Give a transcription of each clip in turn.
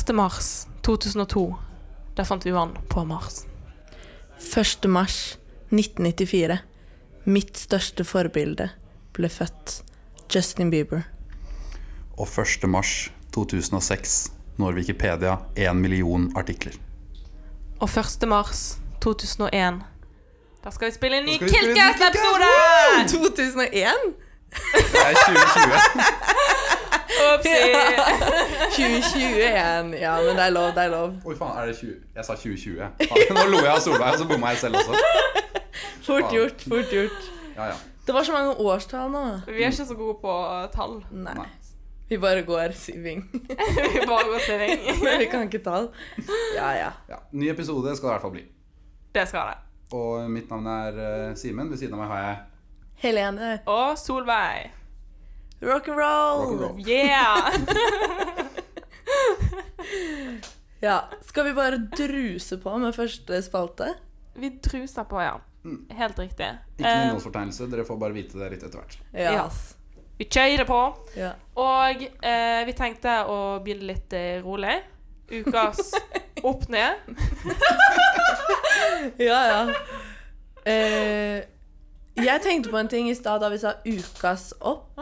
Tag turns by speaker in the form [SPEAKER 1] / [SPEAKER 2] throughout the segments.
[SPEAKER 1] 1. mars 2002. Der fant vi vann på Mars.
[SPEAKER 2] 1. mars 1994. Mitt største forbilde ble født. Justin Bieber.
[SPEAKER 3] Og 1. mars 2006 når Wikipedia 1 million artikler.
[SPEAKER 1] Og 1. mars 2001. Da skal vi spille en ny
[SPEAKER 3] skal vi spille en ny
[SPEAKER 1] Kiltcast-episode!
[SPEAKER 2] 2001?
[SPEAKER 3] Det er 2020.
[SPEAKER 1] Oppsi!
[SPEAKER 2] 2021. Ja, men det er lov, det er lov.
[SPEAKER 3] Oi, faen, er det 20? Jeg sa 2020. Faen, nå lo jeg av Solveig, og så bomma jeg selv også.
[SPEAKER 2] Fort gjort, fort gjort.
[SPEAKER 3] Ja, ja.
[SPEAKER 2] Det var så mange årstall nå.
[SPEAKER 1] Vi er ikke så gode på tall.
[SPEAKER 2] Nei.
[SPEAKER 3] Nei.
[SPEAKER 2] Vi bare går siving.
[SPEAKER 1] Vi bare går til ring.
[SPEAKER 2] Men vi kan ikke tall. Ja, ja.
[SPEAKER 3] Ja, ny episode skal det i hvert fall bli.
[SPEAKER 1] Det skal det.
[SPEAKER 3] Og mitt navn er eh, Simen. Ved siden av meg har jeg
[SPEAKER 2] Helene.
[SPEAKER 1] Og Solveig.
[SPEAKER 2] Rock'n'roll.
[SPEAKER 3] Rock'n'roll.
[SPEAKER 1] Yeah!
[SPEAKER 2] Ja. Skal vi bare druse på med første spalte?
[SPEAKER 1] Vi druser på, ja. Helt riktig.
[SPEAKER 3] Mm. Ikke noen
[SPEAKER 1] Eh,
[SPEAKER 3] innholdsfortegnelse, dere får bare vite det litt etter hvert.
[SPEAKER 1] Ja.
[SPEAKER 2] ass.
[SPEAKER 1] vi kjører på.
[SPEAKER 2] Ja.
[SPEAKER 1] Og eh, vi tenkte å begynne litt eh, rolig. Ukas opp ned.
[SPEAKER 2] Ja, ja. Eh, jeg tenkte på en ting i stad da vi sa ukas opp.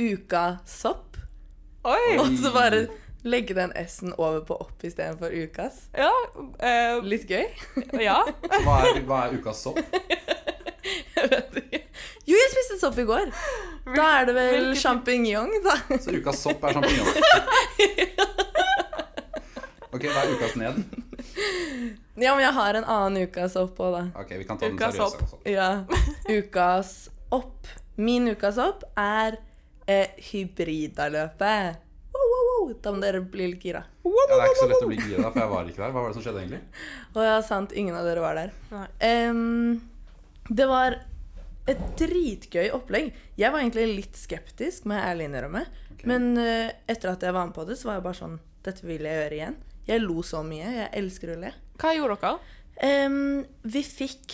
[SPEAKER 2] Uka sopp.
[SPEAKER 1] Oi!
[SPEAKER 2] Og så bare legge den S-en over på opp istedenfor ukas.
[SPEAKER 1] Ja. eh,
[SPEAKER 2] Litt gøy.
[SPEAKER 1] ja.
[SPEAKER 3] Hva er, hva er ukas sopp?
[SPEAKER 2] Jeg vet ikke. Jo, jeg spiste sopp i går. Da er det vel
[SPEAKER 1] hvilket-
[SPEAKER 2] sjampinjong, da.
[SPEAKER 3] Så ukas sopp er sjampinjong. Ok, hva er ukas ned?
[SPEAKER 2] Ja, men jeg har en annen ukas opp òg, da.
[SPEAKER 3] Ok, vi kan ta den
[SPEAKER 1] Ukas
[SPEAKER 3] seriøse. også.
[SPEAKER 2] Ja. Ukas opp. Min ukas opp er eh, hybridaløpet. Wow, wow, wow. Da må dere bli litt gira.
[SPEAKER 3] Ja, det er ikke så lett å bli gira, for jeg var ikke der. Hva var det som skjedde egentlig?
[SPEAKER 2] Å ja, sant. Ingen av dere var der.
[SPEAKER 1] Nei.
[SPEAKER 2] Em, det var et dritgøy opplegg. Jeg var egentlig litt skeptisk, må jeg ærlig innrømme.
[SPEAKER 3] Ok.
[SPEAKER 2] Men eh, etter at jeg var med på det, så var jeg bare sånn Dette vil jeg gjøre igjen. Jeg lo så mye. Jeg elsker å le.
[SPEAKER 1] Hva gjorde dere?
[SPEAKER 2] Em, vi fikk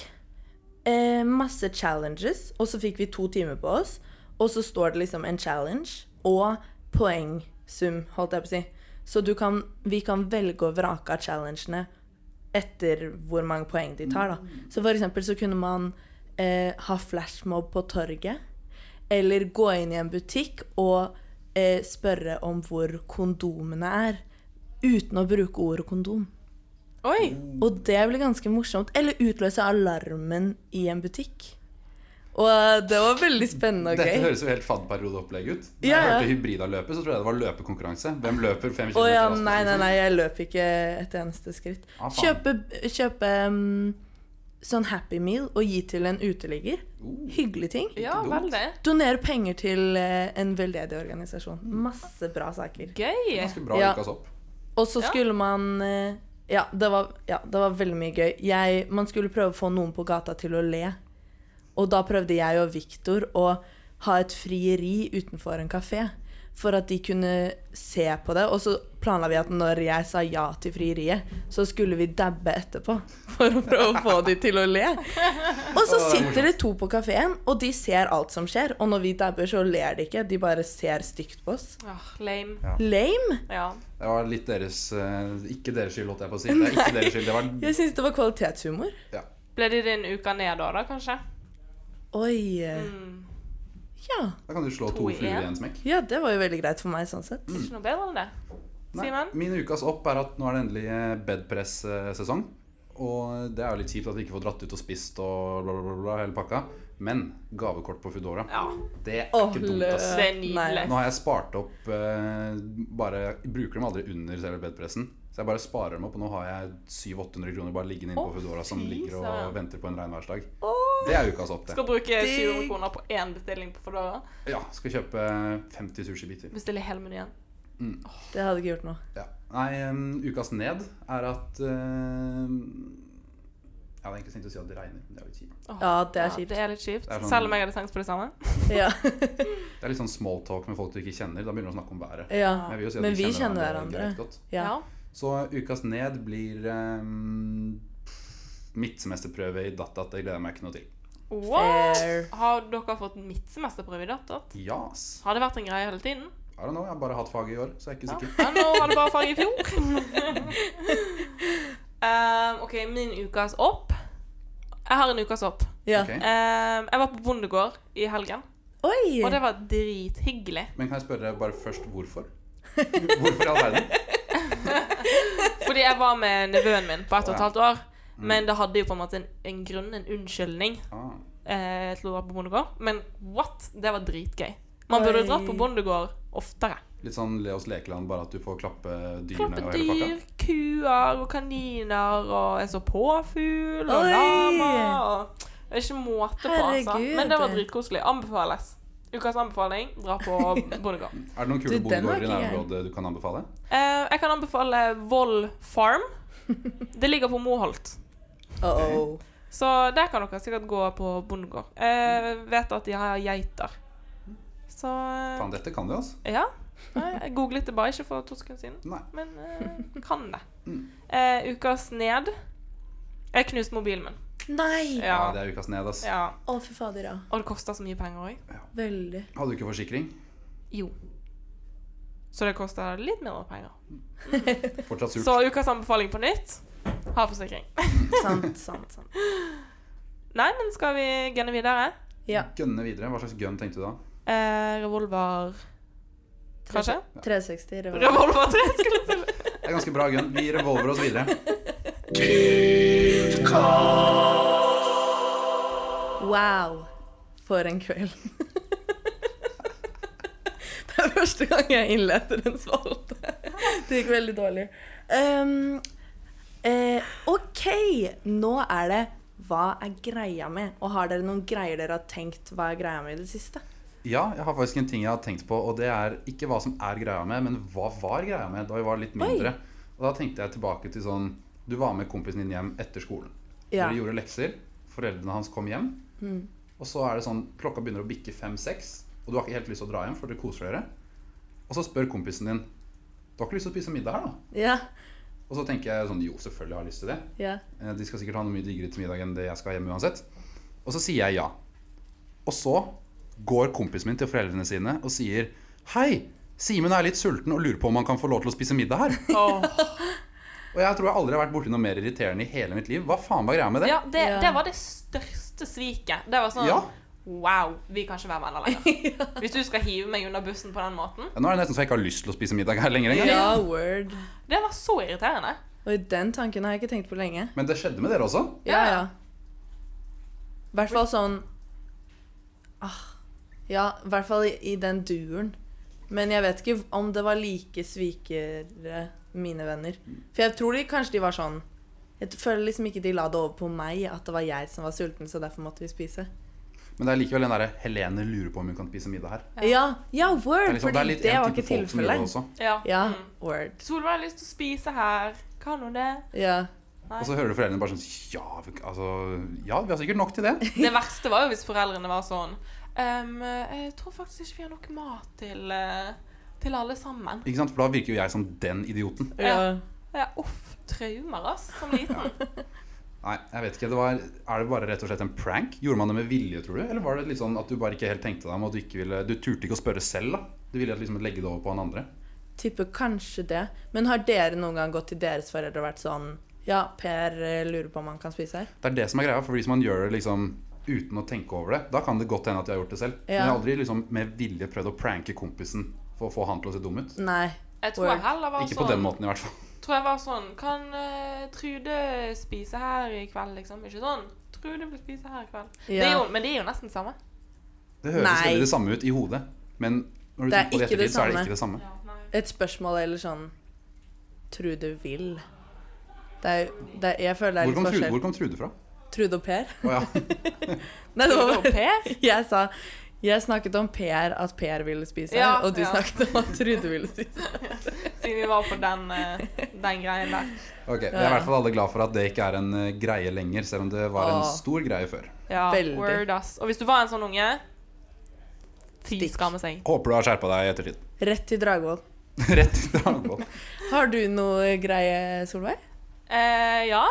[SPEAKER 2] eh, masse challenges, og så fikk vi to timer på oss. Og så står det liksom en challenge og poengsum, holdt jeg på å si. Så du kan, vi kan velge og vrake av challengene etter hvor mange poeng de tar, da. Så for eksempel så kunne man eh, ha flashmob på torget. Eller gå inn i en butikk og eh, spørre om hvor kondomene er. Uten å bruke ordet kondom.
[SPEAKER 1] Oi!
[SPEAKER 3] Oh,
[SPEAKER 2] Og det ble ganske morsomt. Eller utløse alarmen i en butikk. Og eh, det var veldig spennende og
[SPEAKER 3] Dette
[SPEAKER 2] gøy.
[SPEAKER 3] høres jo helt fadderperiodeopplegg ut.
[SPEAKER 2] Ja,
[SPEAKER 3] Da jeg
[SPEAKER 2] ja.
[SPEAKER 3] hørte hybridanløpet, så tror jeg det var løpekonkurranse. Hvem løper
[SPEAKER 2] Å
[SPEAKER 3] fem kilometer
[SPEAKER 2] ja,
[SPEAKER 3] raskest,
[SPEAKER 2] nei, nei,
[SPEAKER 3] liksom?
[SPEAKER 2] nei, jeg løp ikke et eneste skritt.
[SPEAKER 3] Ah, faen.
[SPEAKER 2] Kjøpe, kjøpe mm, sånn Happy Meal og gi til en uteligger.
[SPEAKER 3] Uh,
[SPEAKER 2] Hyggelige ting.
[SPEAKER 1] Ja,
[SPEAKER 3] dumt.
[SPEAKER 1] veldig.
[SPEAKER 2] Donere penger til eh, en veldedig organisasjon. Masse bra saker.
[SPEAKER 1] Gøy.
[SPEAKER 3] Ganske bra
[SPEAKER 2] Ja.
[SPEAKER 3] ukas opp.
[SPEAKER 2] Og så
[SPEAKER 1] Ja.
[SPEAKER 2] skulle man eh, ja det, var, ja, det var veldig mye gøy. Jeg, man skulle prøve å få noen på gata til å le. Og da prøvde jeg og Viktor å ha et frieri utenfor en kafé. For at de kunne se på det. Og så planla vi at når jeg sa ja til frieriet, så skulle vi dabbe etterpå. For å prøve å få de til å le. Og så sitter det to på kafeen, og de ser alt som skjer. Og når vi dabber, så ler de ikke. De bare ser stygt på oss.
[SPEAKER 1] Ah, lame.
[SPEAKER 2] Lame!
[SPEAKER 1] Ja.
[SPEAKER 3] Det var litt deres eh, Ikke deres skyld, holdt jeg på å si. Det er ikke deres skyld. Det var
[SPEAKER 2] Jeg syns det var kvalitetshumor.
[SPEAKER 3] ja.
[SPEAKER 1] Ble det din uke ned da, da kanskje?
[SPEAKER 2] Oi. eh, Ja.
[SPEAKER 3] Da kan du slå
[SPEAKER 1] To
[SPEAKER 3] to
[SPEAKER 1] i
[SPEAKER 3] fluer
[SPEAKER 1] en.
[SPEAKER 3] i en smekk.
[SPEAKER 2] ja, det var jo veldig greit for meg sånn sett.
[SPEAKER 1] Ikke noe bedre enn det.
[SPEAKER 3] Nei,
[SPEAKER 1] Simen?
[SPEAKER 3] Min ukas opp er at nå er det endelig eh, bedpress-sesong. Og det er jo litt kjipt at vi ikke får dratt ut og spist og bla, bla, bla, bla hele pakka. Men gavekort på Foodora,
[SPEAKER 1] Ja.
[SPEAKER 3] det er
[SPEAKER 2] Åh,
[SPEAKER 3] ikke dumt, ass.
[SPEAKER 2] lø.
[SPEAKER 1] Det er nydelig.
[SPEAKER 2] Nei.
[SPEAKER 3] Nå har jeg spart opp eh, bare, Jeg bruker dem aldri under selve bedpressen. Så jeg bare sparer dem opp, og nå har jeg 700-800 kroner bare liggende inne
[SPEAKER 1] Å,
[SPEAKER 3] på Foodora som
[SPEAKER 1] fy
[SPEAKER 3] ligger
[SPEAKER 1] søren.
[SPEAKER 3] og venter på en regnværsdag.
[SPEAKER 2] Åh.
[SPEAKER 3] Det er ukas opp, det.
[SPEAKER 1] Skal bruke
[SPEAKER 2] Digg.
[SPEAKER 1] 700 kroner på én bestilling på Foodora.
[SPEAKER 3] Ja, skal kjøpe 50 sushibiter.
[SPEAKER 1] Bestille hele menyen.
[SPEAKER 2] Det hadde ikke gjort noe.
[SPEAKER 3] Ja. Nei, em, ukas ned er at em, Jeg hadde egentlig tenkt å si at det regner, men det er litt kjipt.
[SPEAKER 1] Åh,
[SPEAKER 2] Ja, det er kjipt.
[SPEAKER 1] det er litt kjipt.
[SPEAKER 3] Det er sånn-
[SPEAKER 1] Selv om jeg hadde tenkt på det samme.
[SPEAKER 2] Ja.
[SPEAKER 3] Det er litt sånn small talk med folk du ikke kjenner. Da begynner du å snakke om været.
[SPEAKER 2] ja.
[SPEAKER 3] Men jeg vil jo si at
[SPEAKER 2] Men vi kjenner
[SPEAKER 3] greit
[SPEAKER 2] hverandre.
[SPEAKER 3] godt.
[SPEAKER 2] Ja.
[SPEAKER 3] Så ukas ned blir um, midtsemesterprøve i data. Det gleder jeg meg ikke noe til.
[SPEAKER 1] What?
[SPEAKER 2] Fair.
[SPEAKER 1] Har dere fått midtsemesterprøve i datter?
[SPEAKER 3] Jas.
[SPEAKER 1] Har det vært en greie hele tiden?
[SPEAKER 3] Ja, I don't know, jeg har bare hatt faget i år, så jeg er ikke sikker.
[SPEAKER 1] Ja, nå var det bare fag i fjor. Ehm, OK, min ukas opp. Jeg har en ukas opp.
[SPEAKER 2] Ja.
[SPEAKER 3] Ok.
[SPEAKER 1] Ehm, jeg var på bondegård i helgen,
[SPEAKER 2] Oi!
[SPEAKER 1] og det var drithyggelig.
[SPEAKER 3] Men kan jeg spørre deg bare først hvorfor? Hvorfor i all verden?
[SPEAKER 1] Fordi jeg var med nevøen min på ett og et
[SPEAKER 3] Å, ja.
[SPEAKER 1] halvt år. Men det hadde jo på en måte en, en grunn, en unnskyldning,
[SPEAKER 3] Ah,
[SPEAKER 1] eh, til å dra på bondegård. Men what? Det var dritgøy. Man burde
[SPEAKER 2] Oi.
[SPEAKER 1] dratt på bondegård oftere.
[SPEAKER 3] litt sånn Leos lekeland, bare at du får klappe dyrene
[SPEAKER 1] Klappe
[SPEAKER 3] og hele pakka.
[SPEAKER 1] dyr, kuer og kaniner, og jeg så påfugl og
[SPEAKER 2] Oi.
[SPEAKER 1] lama og Det er ikke måte på, altså.
[SPEAKER 2] Herregud.
[SPEAKER 1] Men det var dritkoselig. Anbefales. Ukas anbefaling dra på bondegård.
[SPEAKER 3] Er det noen
[SPEAKER 2] Du,
[SPEAKER 3] kule
[SPEAKER 2] den var
[SPEAKER 3] bondegårder i
[SPEAKER 2] ikke gæren.
[SPEAKER 3] nærområdet du kan anbefale?
[SPEAKER 1] Eh, jeg kan anbefale Voll Farm. Det ligger på Moholt.
[SPEAKER 2] Uh-oh.
[SPEAKER 1] Så der kan dere sikkert gå på bondegård. Eh, vet at de har geiter. Så eh,
[SPEAKER 3] Faen, dette kan du, altså.
[SPEAKER 1] Ja. Nei, Jeg googlet det bare ikke for to sekunder siden.
[SPEAKER 3] Nei.
[SPEAKER 1] Men eh, kan det.
[SPEAKER 3] Mm.
[SPEAKER 1] Eh, ukas ned Jeg knuste mobilen min.
[SPEAKER 2] Nei! Å,
[SPEAKER 3] Ja,
[SPEAKER 1] Ja.
[SPEAKER 3] Ah, det er ukas ned, ass.
[SPEAKER 1] ja.
[SPEAKER 2] fy fader, ja.
[SPEAKER 1] Og det kosta så mye penger òg.
[SPEAKER 2] Veldig.
[SPEAKER 3] Hadde du ikke forsikring?
[SPEAKER 1] Jo. Så det kosta litt mindre penger.
[SPEAKER 3] Fortsatt surt.
[SPEAKER 1] Så ukas anbefaling på nytt ha forsikring.
[SPEAKER 2] Sant, sant, sant.
[SPEAKER 1] Nei, men skal vi gunne videre?
[SPEAKER 2] Ja.
[SPEAKER 3] Gønne videre. Hva slags gun tenkte du da?
[SPEAKER 1] Eh, revolver Kanskje?
[SPEAKER 2] 360 revolver.
[SPEAKER 1] Revolver 3 skulle jeg si.
[SPEAKER 3] Det er ganske bra gun. Vi revolver oss videre.
[SPEAKER 2] Wow. For en kveld. det er første gang jeg innleder en spalte. Det gikk veldig dårlig. Um, eh, OK, nå er det Hva er greia med? Og har dere noen greier dere har tenkt hva er greia med i det siste?
[SPEAKER 3] Ja, jeg har faktisk en ting jeg har tenkt på, og det er ikke hva som er greia med, men hva var greia med da vi var litt mindre. Og da tenkte jeg tilbake til sånn Du var med kompisen din hjem etter skolen.
[SPEAKER 2] Ja.
[SPEAKER 3] Dere gjorde lekser. Foreldrene hans kom hjem. Og så er det sånn Klokka begynner å bikke fem-seks, og du har ikke helt lyst til å dra hjem, for dere koser dere. Og så spør kompisen din Du har ikke lyst til å spise middag her, da?
[SPEAKER 2] Ja.
[SPEAKER 3] Og så tenker jeg sånn Jo, selvfølgelig har jeg lyst til det.
[SPEAKER 2] ja.
[SPEAKER 3] Eh, De skal sikkert ha noe mye diggere til middag enn det jeg skal ha hjemme uansett. Og så sier jeg ja. Og så går kompisen min til foreldrene sine og sier Hei, Simen er litt sulten og lurer på om han kan få lov til å spise middag her.
[SPEAKER 1] Åh.
[SPEAKER 3] Og jeg tror jeg aldri har vært borti noe mer irriterende i hele mitt liv. Hva faen var greia med det?
[SPEAKER 1] Ja, det,
[SPEAKER 2] Ja.
[SPEAKER 1] det var det største sviket. Det var sånn
[SPEAKER 3] Ja.
[SPEAKER 1] Wow, vi kan ikke være venner lenger. Hvis du skal hive meg under bussen på den måten.
[SPEAKER 3] Ja, Nå er det nesten så jeg ikke har lyst til å spise middag her lenger engang.
[SPEAKER 2] Ja, word.
[SPEAKER 1] Det var så irriterende.
[SPEAKER 2] Oi, den tanken har jeg ikke tenkt på lenge.
[SPEAKER 3] Men det skjedde med dere også.
[SPEAKER 2] Ja, ja. I hvert fall sånn ah, Ja, i hvert fall i, i den duren. Men jeg vet ikke om det var like svikere mine venner. For jeg tror de, kanskje de var sånn Jeg føler liksom ikke de la det over på meg at det var jeg som var sulten, så derfor måtte vi spise.
[SPEAKER 3] Men det er likevel den derre Helene lurer på om hun kan spise middag her.
[SPEAKER 2] Ja, ja,
[SPEAKER 3] Det
[SPEAKER 2] word!
[SPEAKER 3] er, liksom, det er
[SPEAKER 2] fordi
[SPEAKER 3] litt
[SPEAKER 2] det
[SPEAKER 3] en
[SPEAKER 2] var
[SPEAKER 3] type
[SPEAKER 2] ikke
[SPEAKER 3] folk som gjør det
[SPEAKER 2] tilfellet.
[SPEAKER 3] også.
[SPEAKER 1] Ja.
[SPEAKER 2] Ja,
[SPEAKER 1] Mm.
[SPEAKER 2] word.
[SPEAKER 1] Solveig har lyst til å spise her. Kan hun det?
[SPEAKER 2] Ja.
[SPEAKER 3] Og så hører du foreldrene bare sånn Ja, vi- altså, ja vi har sikkert nok til det.
[SPEAKER 1] Det verste var jo hvis foreldrene var sånn «Ehm, Jeg tror faktisk ikke vi har nok mat til, eh, til alle sammen.
[SPEAKER 3] Ikke sant? For da virker jo jeg som den idioten.
[SPEAKER 2] ja.
[SPEAKER 1] Ja. Ja, uff. Traumer, ass, som liten.
[SPEAKER 3] Nei, jeg vet ikke. Det var, er det bare rett og slett en prank? Gjorde man det med vilje, tror du? Eller var det litt sånn at du bare ikke helt tenkte deg om, og du, ikke ville, du turte ikke å spørre selv? da? Du ville liksom legge det over på han andre?
[SPEAKER 2] Tipper kanskje det. Men har dere noen gang gått til deres foreldre og vært sånn Ja, Per eh, lurer på om han kan spise her.
[SPEAKER 3] Det er det som er greia, for hvis man gjør det liksom uten å tenke over det, da kan det godt hende at jeg har gjort det selv. Men jeg har
[SPEAKER 2] Ja.
[SPEAKER 3] aldri liksom med vilje prøvd å pranke kompisen for å få han til å se dum ut.
[SPEAKER 2] Nei.
[SPEAKER 1] Jeg tror jeg heller var
[SPEAKER 3] Ikke på den
[SPEAKER 1] sånn
[SPEAKER 3] måten, i hvert fall.
[SPEAKER 1] Tror jeg var sånn Kan eh, Trude spise her i kveld, liksom? Ikke sånn. Trude vil spise her i kveld. Det er jo, men det er jo nesten det samme.
[SPEAKER 3] Det høres
[SPEAKER 2] Nei.
[SPEAKER 3] veldig det samme ut i hodet, men når du
[SPEAKER 2] Det er
[SPEAKER 3] tenker på det
[SPEAKER 2] ikke det
[SPEAKER 3] ettertid, så er det
[SPEAKER 2] samme.
[SPEAKER 3] ikke det samme.
[SPEAKER 2] et spørsmål eller sånn Tror du vil? Det er, det er, jeg føler det er
[SPEAKER 3] Hvor
[SPEAKER 2] litt
[SPEAKER 3] kom, Trude,
[SPEAKER 2] forskjell.
[SPEAKER 3] hvor kom Trude fra?
[SPEAKER 2] Trude og Per?
[SPEAKER 3] Å ja.
[SPEAKER 2] Nei, det var
[SPEAKER 1] Trude og Per?
[SPEAKER 2] Jeg sa Jeg snakket om Per, at Per ville spise,
[SPEAKER 1] Ja,
[SPEAKER 2] og du
[SPEAKER 1] ja.
[SPEAKER 2] snakket om at Trude ville spise.
[SPEAKER 1] Siden vi var på den, eh, den greien der.
[SPEAKER 3] Ok, Vi er i hvert fall alle glad for at det ikke er en eh, greie lenger, selv om det var en
[SPEAKER 2] Åh.
[SPEAKER 3] stor greie før.
[SPEAKER 1] Ja,
[SPEAKER 2] Veldig.
[SPEAKER 1] word, ass. Og hvis du var en sånn unge Fy
[SPEAKER 2] Stikk.
[SPEAKER 1] skamme seg.
[SPEAKER 3] Håper du har skjerpa deg i ettertid.
[SPEAKER 2] Rett til Dragvoll.
[SPEAKER 3] Rett i Dragvoll.
[SPEAKER 2] Har du noe greie, Solveig?
[SPEAKER 1] Eh, ja.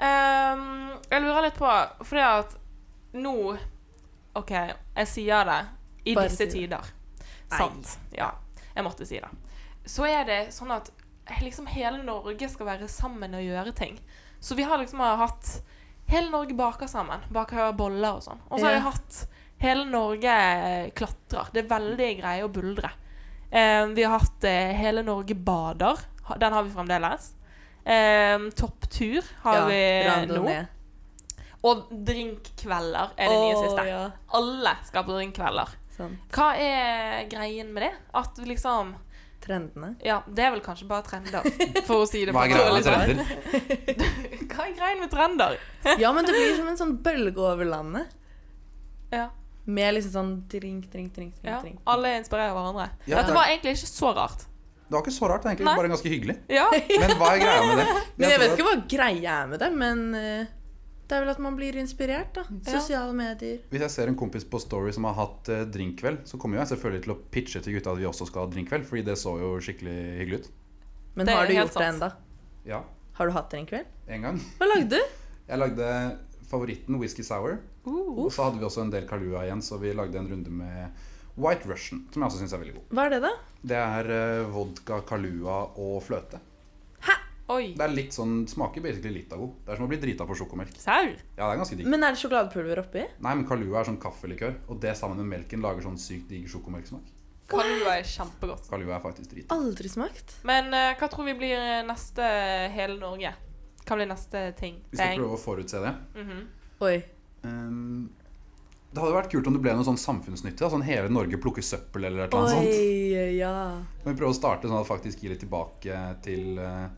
[SPEAKER 1] Ehm, jeg lurer litt på Fordi at nå OK, jeg sier det i
[SPEAKER 2] Bare
[SPEAKER 1] disse
[SPEAKER 2] si
[SPEAKER 1] tider.
[SPEAKER 2] Nei.
[SPEAKER 1] Sant. Ja. Jeg måtte si det. Så er det sånn at liksom hele Norge skal være sammen og gjøre ting. Så vi har liksom hatt Hele Norge baker sammen. Baker boller og sånn. Og så har
[SPEAKER 2] Ja.
[SPEAKER 1] vi hatt Hele Norge klatrer. Det er veldig greie å buldre. Eh, vi har hatt eh, Hele Norge bader. Ha- Den har vi fremdeles. Eh, topptur har vi nå.
[SPEAKER 2] randonee.
[SPEAKER 1] Og drinkkvelder er det nye
[SPEAKER 2] Å,
[SPEAKER 1] siste.
[SPEAKER 2] ja.
[SPEAKER 1] Alle skal på drinkkvelder.
[SPEAKER 2] Sånn.
[SPEAKER 1] Hva er greien med det? At liksom
[SPEAKER 2] Trendene.
[SPEAKER 1] Ja, det er vel kanskje bare trender, for å si det
[SPEAKER 3] Hva er
[SPEAKER 1] på
[SPEAKER 3] greia
[SPEAKER 1] dårlig
[SPEAKER 3] med
[SPEAKER 1] måte.
[SPEAKER 3] trender?
[SPEAKER 1] Hva er greien med trender?
[SPEAKER 2] Ja, men det blir som en sånn bølge over landet.
[SPEAKER 1] Ja,
[SPEAKER 2] Med liksom sånn drink, drink, drink, drink.
[SPEAKER 1] ja.
[SPEAKER 2] drink.
[SPEAKER 1] Alle inspirerer hverandre.
[SPEAKER 3] Ja.
[SPEAKER 1] Dette var egentlig ikke så rart.
[SPEAKER 3] Det var ikke så rart, egentlig.
[SPEAKER 1] Nei.
[SPEAKER 3] Bare ganske hyggelig.
[SPEAKER 1] Ja,
[SPEAKER 3] Men hva er greia med det?
[SPEAKER 2] Men jeg
[SPEAKER 3] tror
[SPEAKER 2] vet
[SPEAKER 3] at-
[SPEAKER 2] ikke hva greia er med det, men eh, det er vel at man blir inspirert, da.
[SPEAKER 1] Ja.
[SPEAKER 2] Sosiale medier.
[SPEAKER 3] Hvis jeg ser en kompis på Story som har hatt eh, drinkkveld, så kommer jo jeg selvfølgelig til å pitche til gutta at vi også skal ha drinkkveld, fordi det så jo skikkelig hyggelig ut.
[SPEAKER 2] Men
[SPEAKER 1] Det er
[SPEAKER 2] har du
[SPEAKER 1] helt
[SPEAKER 2] gjort det
[SPEAKER 1] sant.
[SPEAKER 2] enda?
[SPEAKER 3] Ja,
[SPEAKER 2] Har du hatt det en kveld?
[SPEAKER 3] en gang.
[SPEAKER 2] Hva lagde du?
[SPEAKER 3] Jeg lagde favoritten Whisky Sour,
[SPEAKER 1] uh,
[SPEAKER 3] og så hadde vi også en del Kalua igjen, så vi lagde en runde med White Russian, som jeg også syns er veldig god.
[SPEAKER 2] Hva er det, da?
[SPEAKER 3] Det er eh, vodka, Kalua og fløte.
[SPEAKER 1] oi.
[SPEAKER 3] Det er litt sånn, smaker basically litt av god. Det er som å bli drita på sjokomelk.
[SPEAKER 1] Serr?
[SPEAKER 3] Ja, det er ganske digg.
[SPEAKER 2] Men er det sjokoladepulver oppi?
[SPEAKER 3] Nei, men Kalua er sånn kaffelikør, og det sammen med melken lager sånn sykt digg sjokomelksmak.
[SPEAKER 1] Kalua er kjempegodt.
[SPEAKER 3] Kalua er faktisk drit.
[SPEAKER 2] Aldri smakt.
[SPEAKER 1] Men eh, hva tror vi blir neste eh, Hele Norge? Hva blir neste ting?
[SPEAKER 3] Vi skal
[SPEAKER 1] Ting?
[SPEAKER 3] prøve å forutse det.
[SPEAKER 1] Mhm.
[SPEAKER 2] Oi.
[SPEAKER 3] Ehm, det hadde vært kult om det ble noe sånn samfunnsnyttig. da, Sånn hele Norge plukker søppel eller et eller annet sånt.
[SPEAKER 2] Oi, ja.
[SPEAKER 3] Kan vi prøve å starte sånn at det faktisk gir litt tilbake til eh,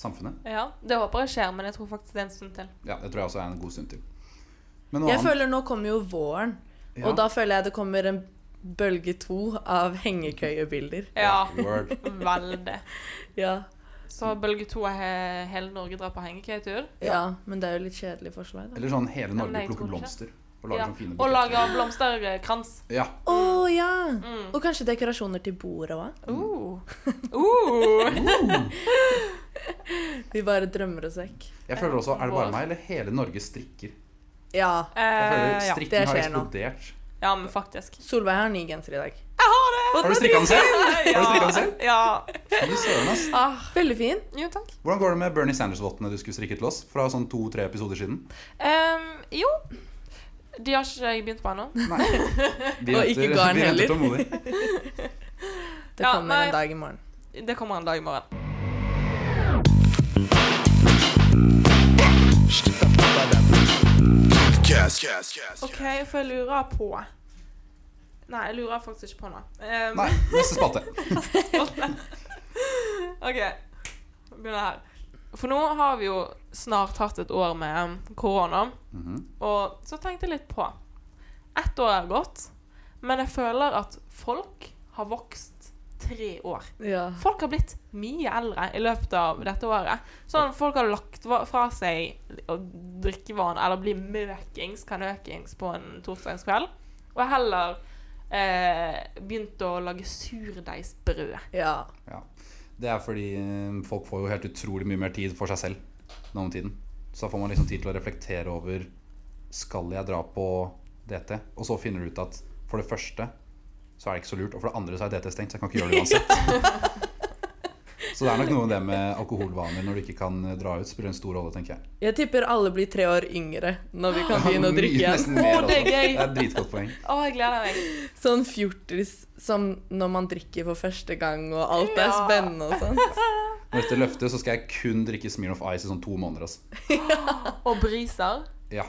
[SPEAKER 3] samfunnet?
[SPEAKER 1] Ja, det håper jeg skjer, men jeg tror faktisk det er en stund til.
[SPEAKER 3] Ja, det tror jeg også er en god stund til. Men noe
[SPEAKER 2] Jeg
[SPEAKER 3] annet
[SPEAKER 2] føler nå kommer jo våren,
[SPEAKER 3] Ja.
[SPEAKER 2] og da føler jeg det kommer en bølge to av hengekøyebilder.
[SPEAKER 1] Ja,
[SPEAKER 3] Word.
[SPEAKER 1] veldig.
[SPEAKER 2] Ja.
[SPEAKER 1] Så bølge to er he- hele Norge drar på hengekøyetur.
[SPEAKER 2] ja, men det er jo litt kjedelig forslag, da.
[SPEAKER 3] Eller sånn hele
[SPEAKER 1] men
[SPEAKER 3] Norge
[SPEAKER 1] jeg
[SPEAKER 3] plukker
[SPEAKER 1] tror ikke.
[SPEAKER 3] blomster. Og lager
[SPEAKER 1] Ja.
[SPEAKER 3] sånn
[SPEAKER 1] Og
[SPEAKER 3] fine
[SPEAKER 1] eh,
[SPEAKER 3] buketter.
[SPEAKER 1] lager blomsterkrans.
[SPEAKER 3] Ja.
[SPEAKER 2] Å ja!
[SPEAKER 1] Mm.
[SPEAKER 2] Og kanskje dekorasjoner til bordet òg.
[SPEAKER 1] Uh. Uh.
[SPEAKER 2] Vi bare drømmer oss vekk.
[SPEAKER 3] Jeg føler også Er det bare
[SPEAKER 1] Vår.
[SPEAKER 3] meg, eller hele Norge strikker?
[SPEAKER 2] Ja.
[SPEAKER 3] Jeg føler
[SPEAKER 1] Eh, ja.
[SPEAKER 2] det
[SPEAKER 3] Strikking har
[SPEAKER 2] skjer nå.
[SPEAKER 3] eksplodert.
[SPEAKER 1] ja, men faktisk.
[SPEAKER 2] Solveig har ny genser i dag.
[SPEAKER 1] Jeg har det!
[SPEAKER 3] Har du strikka den selv?
[SPEAKER 1] Ja.
[SPEAKER 3] Har du strikket den selv?
[SPEAKER 1] Ja.
[SPEAKER 3] Fy søren, ass.
[SPEAKER 1] Ah,
[SPEAKER 2] Veldig fin.
[SPEAKER 1] jo, takk.
[SPEAKER 3] Hvordan går det med Bernie Sanders-vottene du skulle strikke til oss fra sånn to-tre episoder siden?
[SPEAKER 1] Ehm, jo. De har ikke jeg begynt på ennå.
[SPEAKER 3] Nei. Vi
[SPEAKER 2] Og ikke
[SPEAKER 3] venter-
[SPEAKER 2] garn
[SPEAKER 3] vi venter
[SPEAKER 2] heller.
[SPEAKER 3] tålmodig.
[SPEAKER 2] Det
[SPEAKER 1] Ja,
[SPEAKER 2] kommer
[SPEAKER 1] nei.
[SPEAKER 2] en dag i morgen.
[SPEAKER 1] Det kommer en dag i morgen. OK, for jeg lurer på Nei, jeg lurer faktisk ikke på noe. Ehm,
[SPEAKER 3] Nei, neste spalte.
[SPEAKER 1] OK. Begynner her. For nå har vi jo snart hatt et år med em, korona,
[SPEAKER 3] Mhm.
[SPEAKER 1] og så tenkte jeg litt på Ett år er gått, men jeg føler at folk har vokst tre år.
[SPEAKER 2] Ja.
[SPEAKER 1] Folk har blitt mye eldre i løpet av dette året. Sånn Folk har lagt va- fra seg å drikke vann eller bli møkings, kanøkings på en torsdagskveld, og heller eh, begynt å lage surdeigsbrød.
[SPEAKER 2] ja.
[SPEAKER 3] Ja. Det er fordi eh, folk får jo helt utrolig mye mer tid for seg selv nå om tiden. Så da får man liksom tid til å reflektere over Skal jeg dra på DT? Og så finner du ut at for det første så er det ikke så lurt, og for det andre så er DT stengt, så jeg kan ikke gjøre det uansett. Så det er nok noe med det med alkoholvaner når du ikke kan dra ut, spiller en stor rolle, tenker jeg.
[SPEAKER 2] Jeg tipper alle blir tre år yngre når vi kan begynne å drikke igjen.
[SPEAKER 3] Nesten mer,
[SPEAKER 1] Å, det er
[SPEAKER 3] altså.
[SPEAKER 1] gøy.
[SPEAKER 3] Det er et dritgodt poeng.
[SPEAKER 1] Å, jeg gleder meg.
[SPEAKER 2] Sånn fjortis som når man drikker for første gang, og alt er
[SPEAKER 1] Ja.
[SPEAKER 2] spennende og sånn.
[SPEAKER 3] Når dette løftet, så skal jeg kun drikke Smirnoff Ice i sånn to måneder, altså.
[SPEAKER 1] Og briser.
[SPEAKER 3] Ja,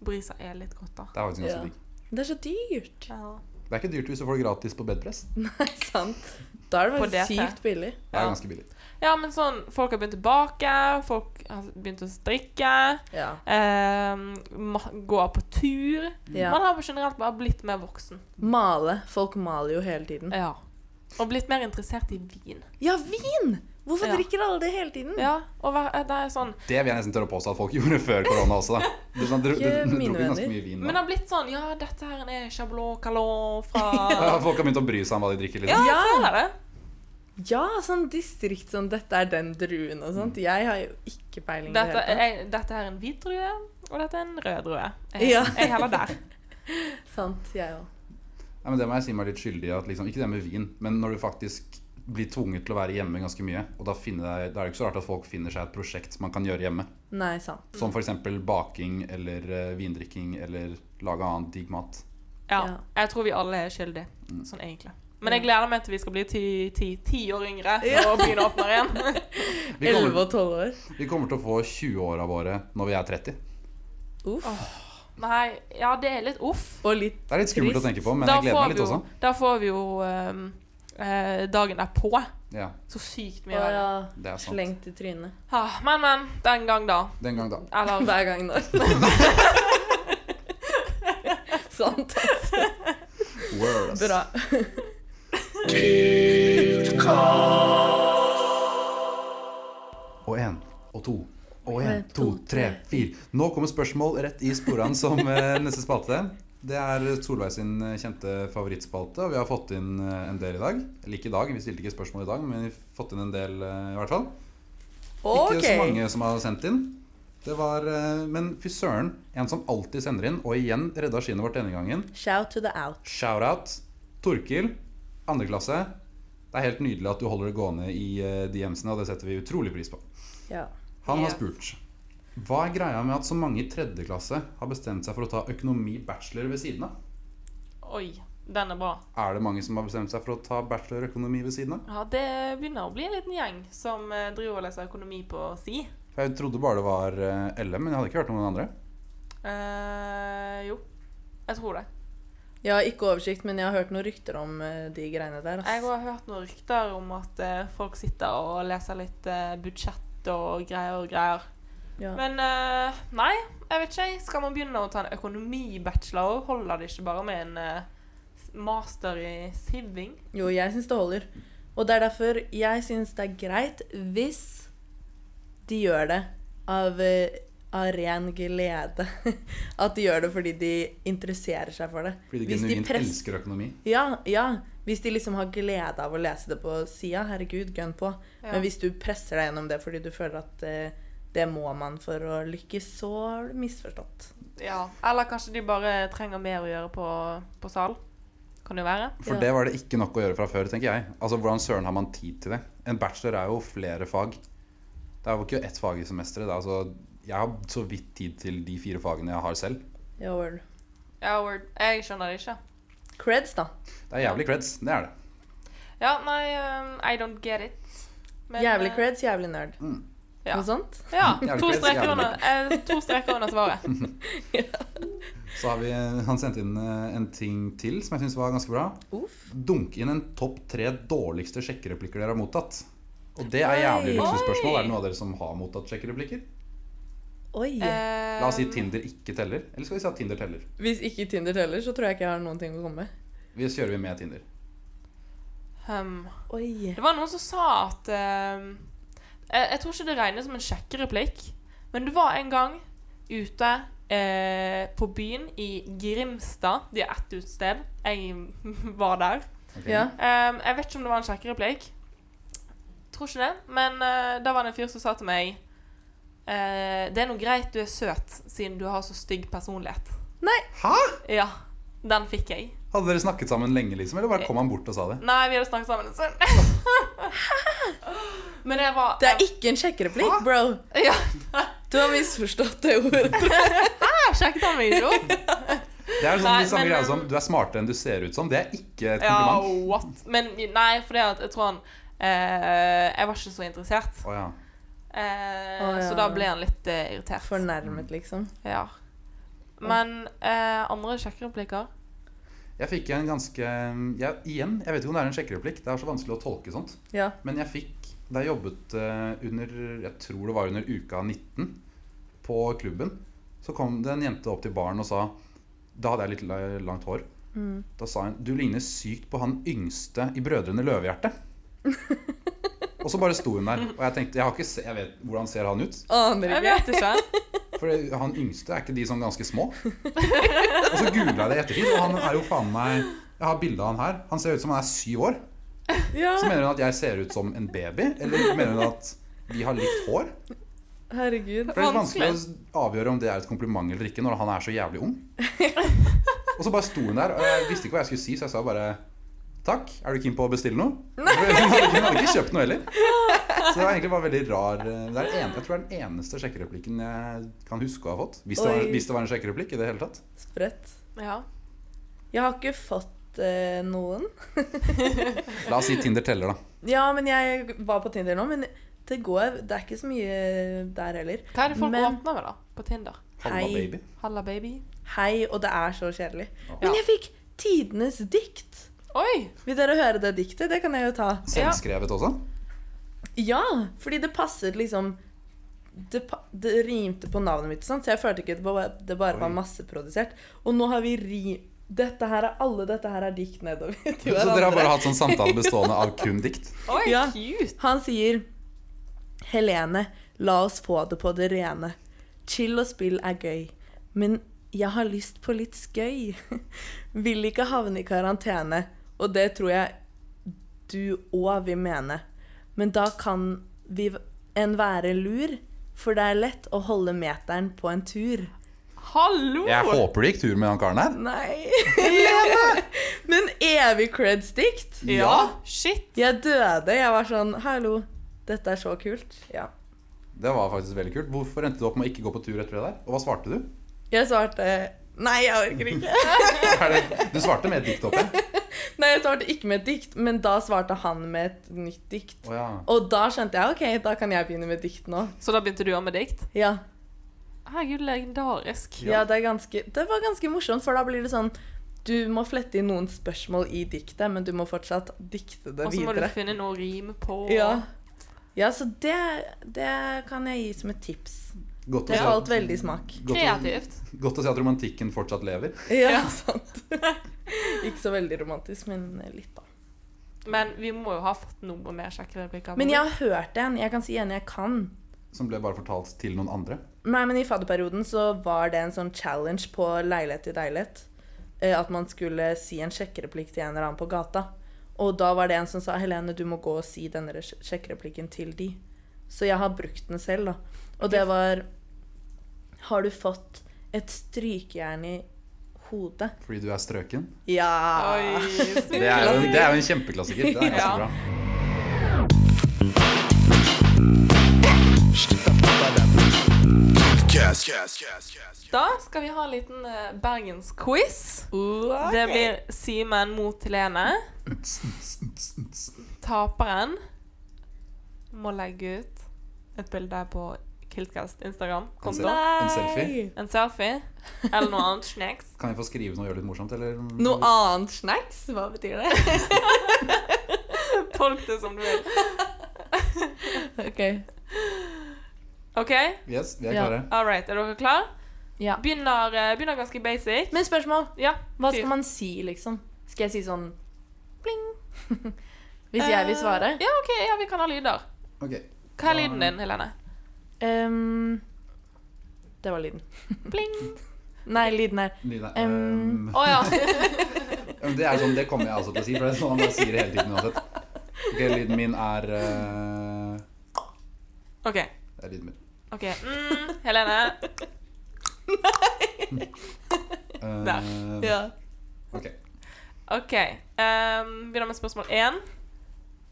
[SPEAKER 1] Briser er litt godt, da.
[SPEAKER 3] det er faktisk ganske
[SPEAKER 2] Ja.
[SPEAKER 3] digg.
[SPEAKER 2] Det er så dyrt.
[SPEAKER 1] Ja.
[SPEAKER 3] Det er ikke dyrt hvis du får det gratis på bedpress.
[SPEAKER 2] Nei, sant. Da er det
[SPEAKER 1] På
[SPEAKER 2] bare
[SPEAKER 1] DT.
[SPEAKER 2] sykt billig.
[SPEAKER 3] Det er
[SPEAKER 1] Ja.
[SPEAKER 3] ganske billig.
[SPEAKER 1] ja, men sånn Folk har begynt å bake, folk har begynt å strikke,
[SPEAKER 2] Ja.
[SPEAKER 1] eh, ma- gå på tur. Man har generelt bare blitt mer voksen.
[SPEAKER 2] Male. Folk maler jo hele tiden.
[SPEAKER 1] Ja. Og blitt mer interessert i vin.
[SPEAKER 2] Ja, vin! Hvorfor
[SPEAKER 1] Ja.
[SPEAKER 2] drikker alle det hele tiden?
[SPEAKER 1] Ja, og hva- det er sånn
[SPEAKER 3] Det vil jeg nesten tørre å påstå at folk gjorde før korona også, da. Du, sånn, dro- du,
[SPEAKER 2] Ikke
[SPEAKER 3] du,
[SPEAKER 2] mine
[SPEAKER 3] drukket ganske
[SPEAKER 2] venner.
[SPEAKER 3] mye vin
[SPEAKER 1] Men det
[SPEAKER 3] da.
[SPEAKER 1] har blitt sånn Ja, dette her er Chablot Calon
[SPEAKER 3] Ja,
[SPEAKER 1] fra
[SPEAKER 3] folk har begynt å bry seg om hva de drikker.
[SPEAKER 1] altså- Ja, jeg
[SPEAKER 3] Liksom.
[SPEAKER 1] ser det.
[SPEAKER 2] Ja, sånn distrikt sånn 'dette er den druen' og sånt. Jeg har jo ikke peiling i det
[SPEAKER 1] Dette
[SPEAKER 2] hele tatt.
[SPEAKER 1] er, dette er en hvit drue, og dette er en rød drue. Jeg,
[SPEAKER 2] Ja.
[SPEAKER 1] jeg heller der.
[SPEAKER 2] Sant, jeg òg.
[SPEAKER 3] Nei, men Det må jeg si meg litt skyldig i. at Liksom, ikke det med vin, men når du faktisk blir tvunget til å være hjemme ganske mye, og da, finner deg, da er det ikke så rart at folk finner seg et prosjekt man kan gjøre hjemme.
[SPEAKER 2] Nei, sant.
[SPEAKER 3] Som f.eks. baking eller eh, vindrikking eller lage annen digg mat.
[SPEAKER 1] Ja.
[SPEAKER 2] Ja.
[SPEAKER 1] Jeg tror vi alle er skyldige,
[SPEAKER 3] Mm.
[SPEAKER 1] sånn egentlig. Men jeg gleder meg til vi skal bli ti, ti, ti år yngre og begynne å åpne igjen.
[SPEAKER 3] Vi kommer-
[SPEAKER 2] 11 og 12 år.
[SPEAKER 3] Vi kommer til å få 20-åra våre når vi er 30.
[SPEAKER 2] Uff.
[SPEAKER 1] Nei, ja, det er litt uff.
[SPEAKER 2] Og litt
[SPEAKER 3] Det er litt skummelt å
[SPEAKER 2] Trist.
[SPEAKER 3] tenke på, men
[SPEAKER 1] da,
[SPEAKER 3] jeg gleder
[SPEAKER 1] får
[SPEAKER 3] meg
[SPEAKER 1] vi
[SPEAKER 3] litt
[SPEAKER 1] jo,
[SPEAKER 3] også.
[SPEAKER 1] da får vi jo ehm, eh, dagen derpå.
[SPEAKER 3] Ja,
[SPEAKER 1] Så sykt
[SPEAKER 2] å,
[SPEAKER 1] mye.
[SPEAKER 2] ja.
[SPEAKER 3] det er sant.
[SPEAKER 2] slengt i trynet.
[SPEAKER 1] Ah, men, men. Den gang, da.
[SPEAKER 3] Den gang, da.
[SPEAKER 1] Eller
[SPEAKER 2] Hver gang nå. sant.
[SPEAKER 3] Word, ass.
[SPEAKER 2] Bra.
[SPEAKER 3] Og én, og to, og én, to, tre, fire. Nå kommer spørsmål rett i sporene som eh, neste spalte. Det er Solveig sin eh, kjente favorittspalte, og vi har fått inn eh, en del i dag. Eller ikke i dag, vi stilte ikke spørsmål i dag, men vi har fått inn en del eh, i hvert fall. Ikke så
[SPEAKER 2] OK.
[SPEAKER 3] mange som har sendt inn. Det var, eh, Men fy søren, en som alltid sender inn, og igjen redda skinnet vårt denne gangen.
[SPEAKER 2] Shout to the out.
[SPEAKER 3] Shout-out. Torkil, andre klasse. Det er helt nydelig at du holder det gående i eh, DMs-ene, og det setter vi utrolig pris på.
[SPEAKER 2] Ja.
[SPEAKER 3] Han har
[SPEAKER 1] Yes.
[SPEAKER 3] spurt Hva er greia med at så mange i tredje klasse har bestemt seg for å ta økonomi bachelor ved siden av?
[SPEAKER 1] Oi, den er bra.
[SPEAKER 3] Er det mange som har bestemt seg for å ta bachelor økonomi ved siden av?
[SPEAKER 1] Ja, Det begynner å bli en liten gjeng som eh, driver og leser økonomi på si.
[SPEAKER 3] For Jeg trodde bare det var eh, LM, men jeg hadde ikke hørt om noen andre.
[SPEAKER 1] Eh, jo, jeg tror det.
[SPEAKER 2] Jeg har ikke oversikt, men jeg har hørt noen rykter om eh, de greiene der.
[SPEAKER 1] Jeg
[SPEAKER 2] ass.
[SPEAKER 1] har hørt noen rykter om at eh, folk sitter og leser litt eh, budsjett og greier og greier.
[SPEAKER 2] Ja.
[SPEAKER 1] Men eh, nei, jeg vet ikke. jeg. Skal man begynne å ta en økonomibachelor, holder det ikke bare med en eh, s- master i siving?
[SPEAKER 2] Jo, jeg syns det holder. Og det er derfor jeg syns det er greit hvis de gjør det av, eh, av ren glede. At de gjør det fordi de interesserer seg for det.
[SPEAKER 3] Fordi de
[SPEAKER 2] Hvis de
[SPEAKER 3] genuint
[SPEAKER 2] press-
[SPEAKER 3] elsker økonomi.
[SPEAKER 2] Ja, ja. Hvis de liksom har glede av å lese det på sida, herregud, gønn på.
[SPEAKER 1] Ja.
[SPEAKER 2] Men hvis du presser deg gjennom det fordi du føler at eh, det må man for å lykkes, så har du misforstått.
[SPEAKER 1] Ja. Eller kanskje de bare trenger mer å gjøre på, på sal. Kan det jo være.
[SPEAKER 3] For
[SPEAKER 2] Ja.
[SPEAKER 3] det var det ikke nok å gjøre fra før, tenker jeg. Altså, Hvordan søren har man tid til det? En bachelor er jo flere fag. Det er jo ikke ett fag i semesteret. det er Altså, jeg har så vidt tid til de fire fagene jeg har selv.
[SPEAKER 2] Ja, word.
[SPEAKER 1] Ja, word. Jeg skjønner det ikke.
[SPEAKER 2] Creds, da.
[SPEAKER 3] Det er jævlig creds. Det er det.
[SPEAKER 1] Ja, nei, um, I don't get it. Men,
[SPEAKER 2] jævlig
[SPEAKER 1] eh,
[SPEAKER 2] creds, jævlig nerd.
[SPEAKER 3] Mm.
[SPEAKER 1] Ja.
[SPEAKER 2] Noe sånt?
[SPEAKER 1] Ja.
[SPEAKER 3] Jævlig
[SPEAKER 1] To
[SPEAKER 3] creds,
[SPEAKER 1] streker
[SPEAKER 3] jævlig
[SPEAKER 1] under, eh, to streker under svaret.
[SPEAKER 3] Så har vi, Han sendte inn eh, en ting til som jeg syns var ganske bra.
[SPEAKER 2] Uff.
[SPEAKER 3] Dunk inn en topp tre dårligste sjekkereplikker dere har mottatt. Og det er
[SPEAKER 2] Oi.
[SPEAKER 3] jævlig luksusspørsmål.
[SPEAKER 1] Oi.
[SPEAKER 3] Er det noen av dere som har mottatt sjekkereplikker?
[SPEAKER 2] Oi.
[SPEAKER 1] Eh,
[SPEAKER 3] La oss si
[SPEAKER 2] Um.
[SPEAKER 3] Tinder ikke teller. Eller skal vi si at Tinder teller?
[SPEAKER 2] Hvis ikke Tinder teller, så tror jeg ikke jeg har noen ting å komme med.
[SPEAKER 3] Vi kjører vi med Tinder.
[SPEAKER 1] um,
[SPEAKER 2] Oi.
[SPEAKER 1] Det var noen som sa at eh, jeg, jeg tror ikke det regnes som en sjekkereplikk, men det var en gang ute eh, på byen i Grimstad. De har ett utested. Jeg var der.
[SPEAKER 3] Ok?
[SPEAKER 2] Ja.
[SPEAKER 1] Eh, jeg vet ikke om det var en sjekkereplikk. Tror ikke det. Men eh, da var det en fyr som sa til meg eh, Det er nå greit du er søt, siden du har så stygg personlighet.
[SPEAKER 3] Hæ?
[SPEAKER 1] Ja. Den fikk jeg.
[SPEAKER 3] Hadde dere snakket sammen lenge, liksom? Eller
[SPEAKER 2] Eh.
[SPEAKER 3] bare kom han bort og sa det?
[SPEAKER 1] Nei, vi hadde snakket sammen en stund. Men jeg var
[SPEAKER 2] Det er ikke en sjekkereplikk,
[SPEAKER 3] Hæ?
[SPEAKER 2] bro.
[SPEAKER 1] Ja.
[SPEAKER 2] Du har misforstått det ordet.
[SPEAKER 1] Jeg sjekket han meg ikke opp.
[SPEAKER 3] Det er sånn
[SPEAKER 1] Nei,
[SPEAKER 3] de samme
[SPEAKER 1] men,
[SPEAKER 3] greia
[SPEAKER 1] um,
[SPEAKER 3] som du er smartere enn du ser ut som. Det er ikke et
[SPEAKER 1] Ja,
[SPEAKER 3] kompliment.
[SPEAKER 1] what? Men nei, for det at jeg tror han eh, Jeg var ikke så interessert.
[SPEAKER 3] Å ja.
[SPEAKER 1] Eh,
[SPEAKER 2] Å, ja.
[SPEAKER 1] Så da ble han litt eh, irritert.
[SPEAKER 2] Fornærmet, liksom.
[SPEAKER 1] Ja. Men eh, andre sjekkereplikker
[SPEAKER 3] Jeg fikk en ganske um, ja, Igjen, jeg vet ikke om det er en sjekkereplikk. Det er så vanskelig å tolke sånt.
[SPEAKER 2] Ja.
[SPEAKER 3] Men jeg fikk Da jeg jobbet eh, under Jeg tror det var under uka 19 på klubben, så kom det en jente opp til baren og sa Da hadde jeg litt la- langt hår.
[SPEAKER 1] Mm.
[SPEAKER 3] Da sa hun Du ligner sykt på han yngste i Brødrene Løvehjerte. og så bare sto hun der. Og jeg tenkte Jeg, har ikke se, jeg vet hvordan ser han ut.
[SPEAKER 2] Aner
[SPEAKER 1] Jeg
[SPEAKER 2] ikke.
[SPEAKER 1] vet ikke.
[SPEAKER 3] For det- han yngste, er ikke de sånn ganske små? Og så googla jeg det i ettertid, og han er jo faen meg Jeg har bilde av han her. Han ser ut som han er syv år.
[SPEAKER 2] Ja.
[SPEAKER 3] Så mener hun at jeg ser ut som en baby? Eller mener hun at vi har likt hår?
[SPEAKER 2] Herregud.
[SPEAKER 3] For det er litt vanskelig å avgjøre om det er et kompliment eller ikke når han er så jævlig ung. Og så bare sto hun der, og jeg visste ikke hva jeg skulle si, så jeg sa bare Takk, er du keen på å bestille noe? Hun hadde ikke- hun hadde ikke kjøpt noe heller. Så det var egentlig bare veldig rar eh, det er den ene, Jeg tror det er den eneste sjekkereplikken jeg kan huske å ha fått. Hvis det, var,
[SPEAKER 2] Oi.
[SPEAKER 3] hvis det var en sjekkereplikk i det hele tatt.
[SPEAKER 2] Sprøtt.
[SPEAKER 1] Ja.
[SPEAKER 2] Jeg har ikke fått eh, noen.
[SPEAKER 3] La oss si Tinder teller, da.
[SPEAKER 2] Ja, men jeg var på Tinder nå, men det går Det er ikke så mye der heller.
[SPEAKER 1] Hva er det folk
[SPEAKER 2] Men-
[SPEAKER 1] åpner med, da? På Tinder?
[SPEAKER 3] Halva
[SPEAKER 2] Hei.
[SPEAKER 3] baby.
[SPEAKER 1] Halla, baby.
[SPEAKER 2] Hei, og det er så kjedelig.
[SPEAKER 1] Ja.
[SPEAKER 2] Men jeg fikk tidenes dikt.
[SPEAKER 1] Oi!
[SPEAKER 2] Vil dere høre det diktet? Det kan jeg jo ta.
[SPEAKER 3] Selvskrevet også.
[SPEAKER 2] Ja, fordi det passet liksom det, pa- det rimte på navnet mitt, sant? så jeg følte ikke at det bare, det bare var
[SPEAKER 3] Oi.
[SPEAKER 2] masseprodusert. Og nå har vi ri... Dette her er alle dette her er dikt nedover til
[SPEAKER 3] Så dere har bare
[SPEAKER 2] hverandre.
[SPEAKER 3] hatt sånn samtale bestående av kun dikt?
[SPEAKER 1] Oi,
[SPEAKER 2] Ja.
[SPEAKER 1] cute!
[SPEAKER 2] Han sier Helene, la oss få det på det rene. Chill og spill er gøy, men jeg har lyst på litt skøy. Vil ikke havne i karantene, og det tror jeg du òg vil mene. Men da kan vi v- en være lur, for det er lett å holde meteren på en tur.
[SPEAKER 1] Hallo!
[SPEAKER 3] Jeg håper det gikk tur med han karen her.
[SPEAKER 2] Nei Men evig creds-dikt.
[SPEAKER 1] Ja, shit!
[SPEAKER 2] Jeg døde. Jeg var sånn Hallo, dette er så kult. Ja.
[SPEAKER 3] Det var faktisk veldig kult. Hvorfor endte du opp med å ikke gå på tur etter det der? Og hva svarte du?
[SPEAKER 2] Jeg svarte Nei, jeg orker ikke.
[SPEAKER 3] Er det, du svarte med et dikt opp igjen?
[SPEAKER 2] Nei, jeg svarte ikke med et dikt, men da svarte han med et nytt dikt.
[SPEAKER 3] Å ja.
[SPEAKER 2] Og da skjønte jeg OK, da kan jeg begynne med dikt nå.
[SPEAKER 1] Så da begynte du òg med dikt?
[SPEAKER 2] Ja.
[SPEAKER 1] Herregud, legendarisk.
[SPEAKER 2] ja det, er ganske, det var ganske morsomt, for da blir det sånn Du må flette inn noen spørsmål i diktet, men du må fortsatt dikte det
[SPEAKER 1] Og så må du
[SPEAKER 2] videre.
[SPEAKER 1] finne noe å rime på.
[SPEAKER 2] Ja. ja, så det, det kan jeg gi som et tips.
[SPEAKER 3] Godt å
[SPEAKER 2] Det
[SPEAKER 3] se-
[SPEAKER 2] falt veldig i smak.
[SPEAKER 3] godt å-
[SPEAKER 1] Kreativt.
[SPEAKER 3] Godt å se at romantikken fortsatt lever.
[SPEAKER 2] Ja,
[SPEAKER 1] Ja.
[SPEAKER 2] sant. ikke så veldig romantisk, men eh, litt, da.
[SPEAKER 1] Men vi må jo ha fått noe mer sjekkereplikker.
[SPEAKER 2] Men jeg har hørt en. Jeg kan si en jeg kan.
[SPEAKER 3] Som ble bare fortalt til noen andre.
[SPEAKER 2] Nei, men i fadderperioden så var det en sånn challenge på leilighet til leilighet. eh, At man skulle si en sjekkereplikk til en eller annen på gata. Og da var det en som sa Helene, du må gå og si denne re- sjekkereplikken til de. Så jeg har brukt den selv, da. Og det var Har du fått et strykejern i hodet?
[SPEAKER 3] Fordi du er strøken.
[SPEAKER 2] Ja!
[SPEAKER 1] Oi,
[SPEAKER 3] Det er jo, det er jo en kjempeklassiker. Det er ganske
[SPEAKER 1] Ja.
[SPEAKER 3] bra.
[SPEAKER 4] Yes, yes, yes, yes.
[SPEAKER 1] Da skal vi ha en liten eh, bergensquiz. Det blir Simen mot Helene. Taperen må legge ut et bilde på Kiltcast
[SPEAKER 3] En,
[SPEAKER 1] Instagram-konto.
[SPEAKER 3] sel en selfie.
[SPEAKER 1] En selfie eller noe annet snacks.
[SPEAKER 3] Kan vi få skrive noe og gjøre det litt morsomt, eller?
[SPEAKER 2] Noe annet snacks? Hva betyr det?
[SPEAKER 1] Tolk det som du vil.
[SPEAKER 2] ok.
[SPEAKER 1] OK?
[SPEAKER 3] Yes, vi er
[SPEAKER 2] Ja.
[SPEAKER 3] klare.
[SPEAKER 1] All right, er dere klare?
[SPEAKER 2] Ja.
[SPEAKER 1] Begynner, eh, begynner ganske basic.
[SPEAKER 2] Men spørsmål.
[SPEAKER 1] Ja,
[SPEAKER 2] Hva
[SPEAKER 1] fyr.
[SPEAKER 2] skal man si, liksom? Skal jeg si sånn pling? Hvis jeg vil svare?
[SPEAKER 1] Eh, Ja, OK, ja, vi kan ha lyder.
[SPEAKER 3] Ok.
[SPEAKER 1] Hva er lyden din, Helene?
[SPEAKER 2] Ehm, det var lyden.
[SPEAKER 1] Pling.
[SPEAKER 2] Nei, lyden her.
[SPEAKER 3] Lyden er
[SPEAKER 2] Um,
[SPEAKER 1] Å ja.
[SPEAKER 3] um, Det er sånn, det kommer jeg altså til å si, for det er sånn man bare sier det hele tiden uansett. Ok, lyden min er eh,
[SPEAKER 1] OK.
[SPEAKER 3] Det er lyden min.
[SPEAKER 1] ok mm, Helene.
[SPEAKER 3] Eh,
[SPEAKER 1] Der.
[SPEAKER 2] Ja.
[SPEAKER 3] Ok.
[SPEAKER 1] OK. ehm, begynner med spørsmål én.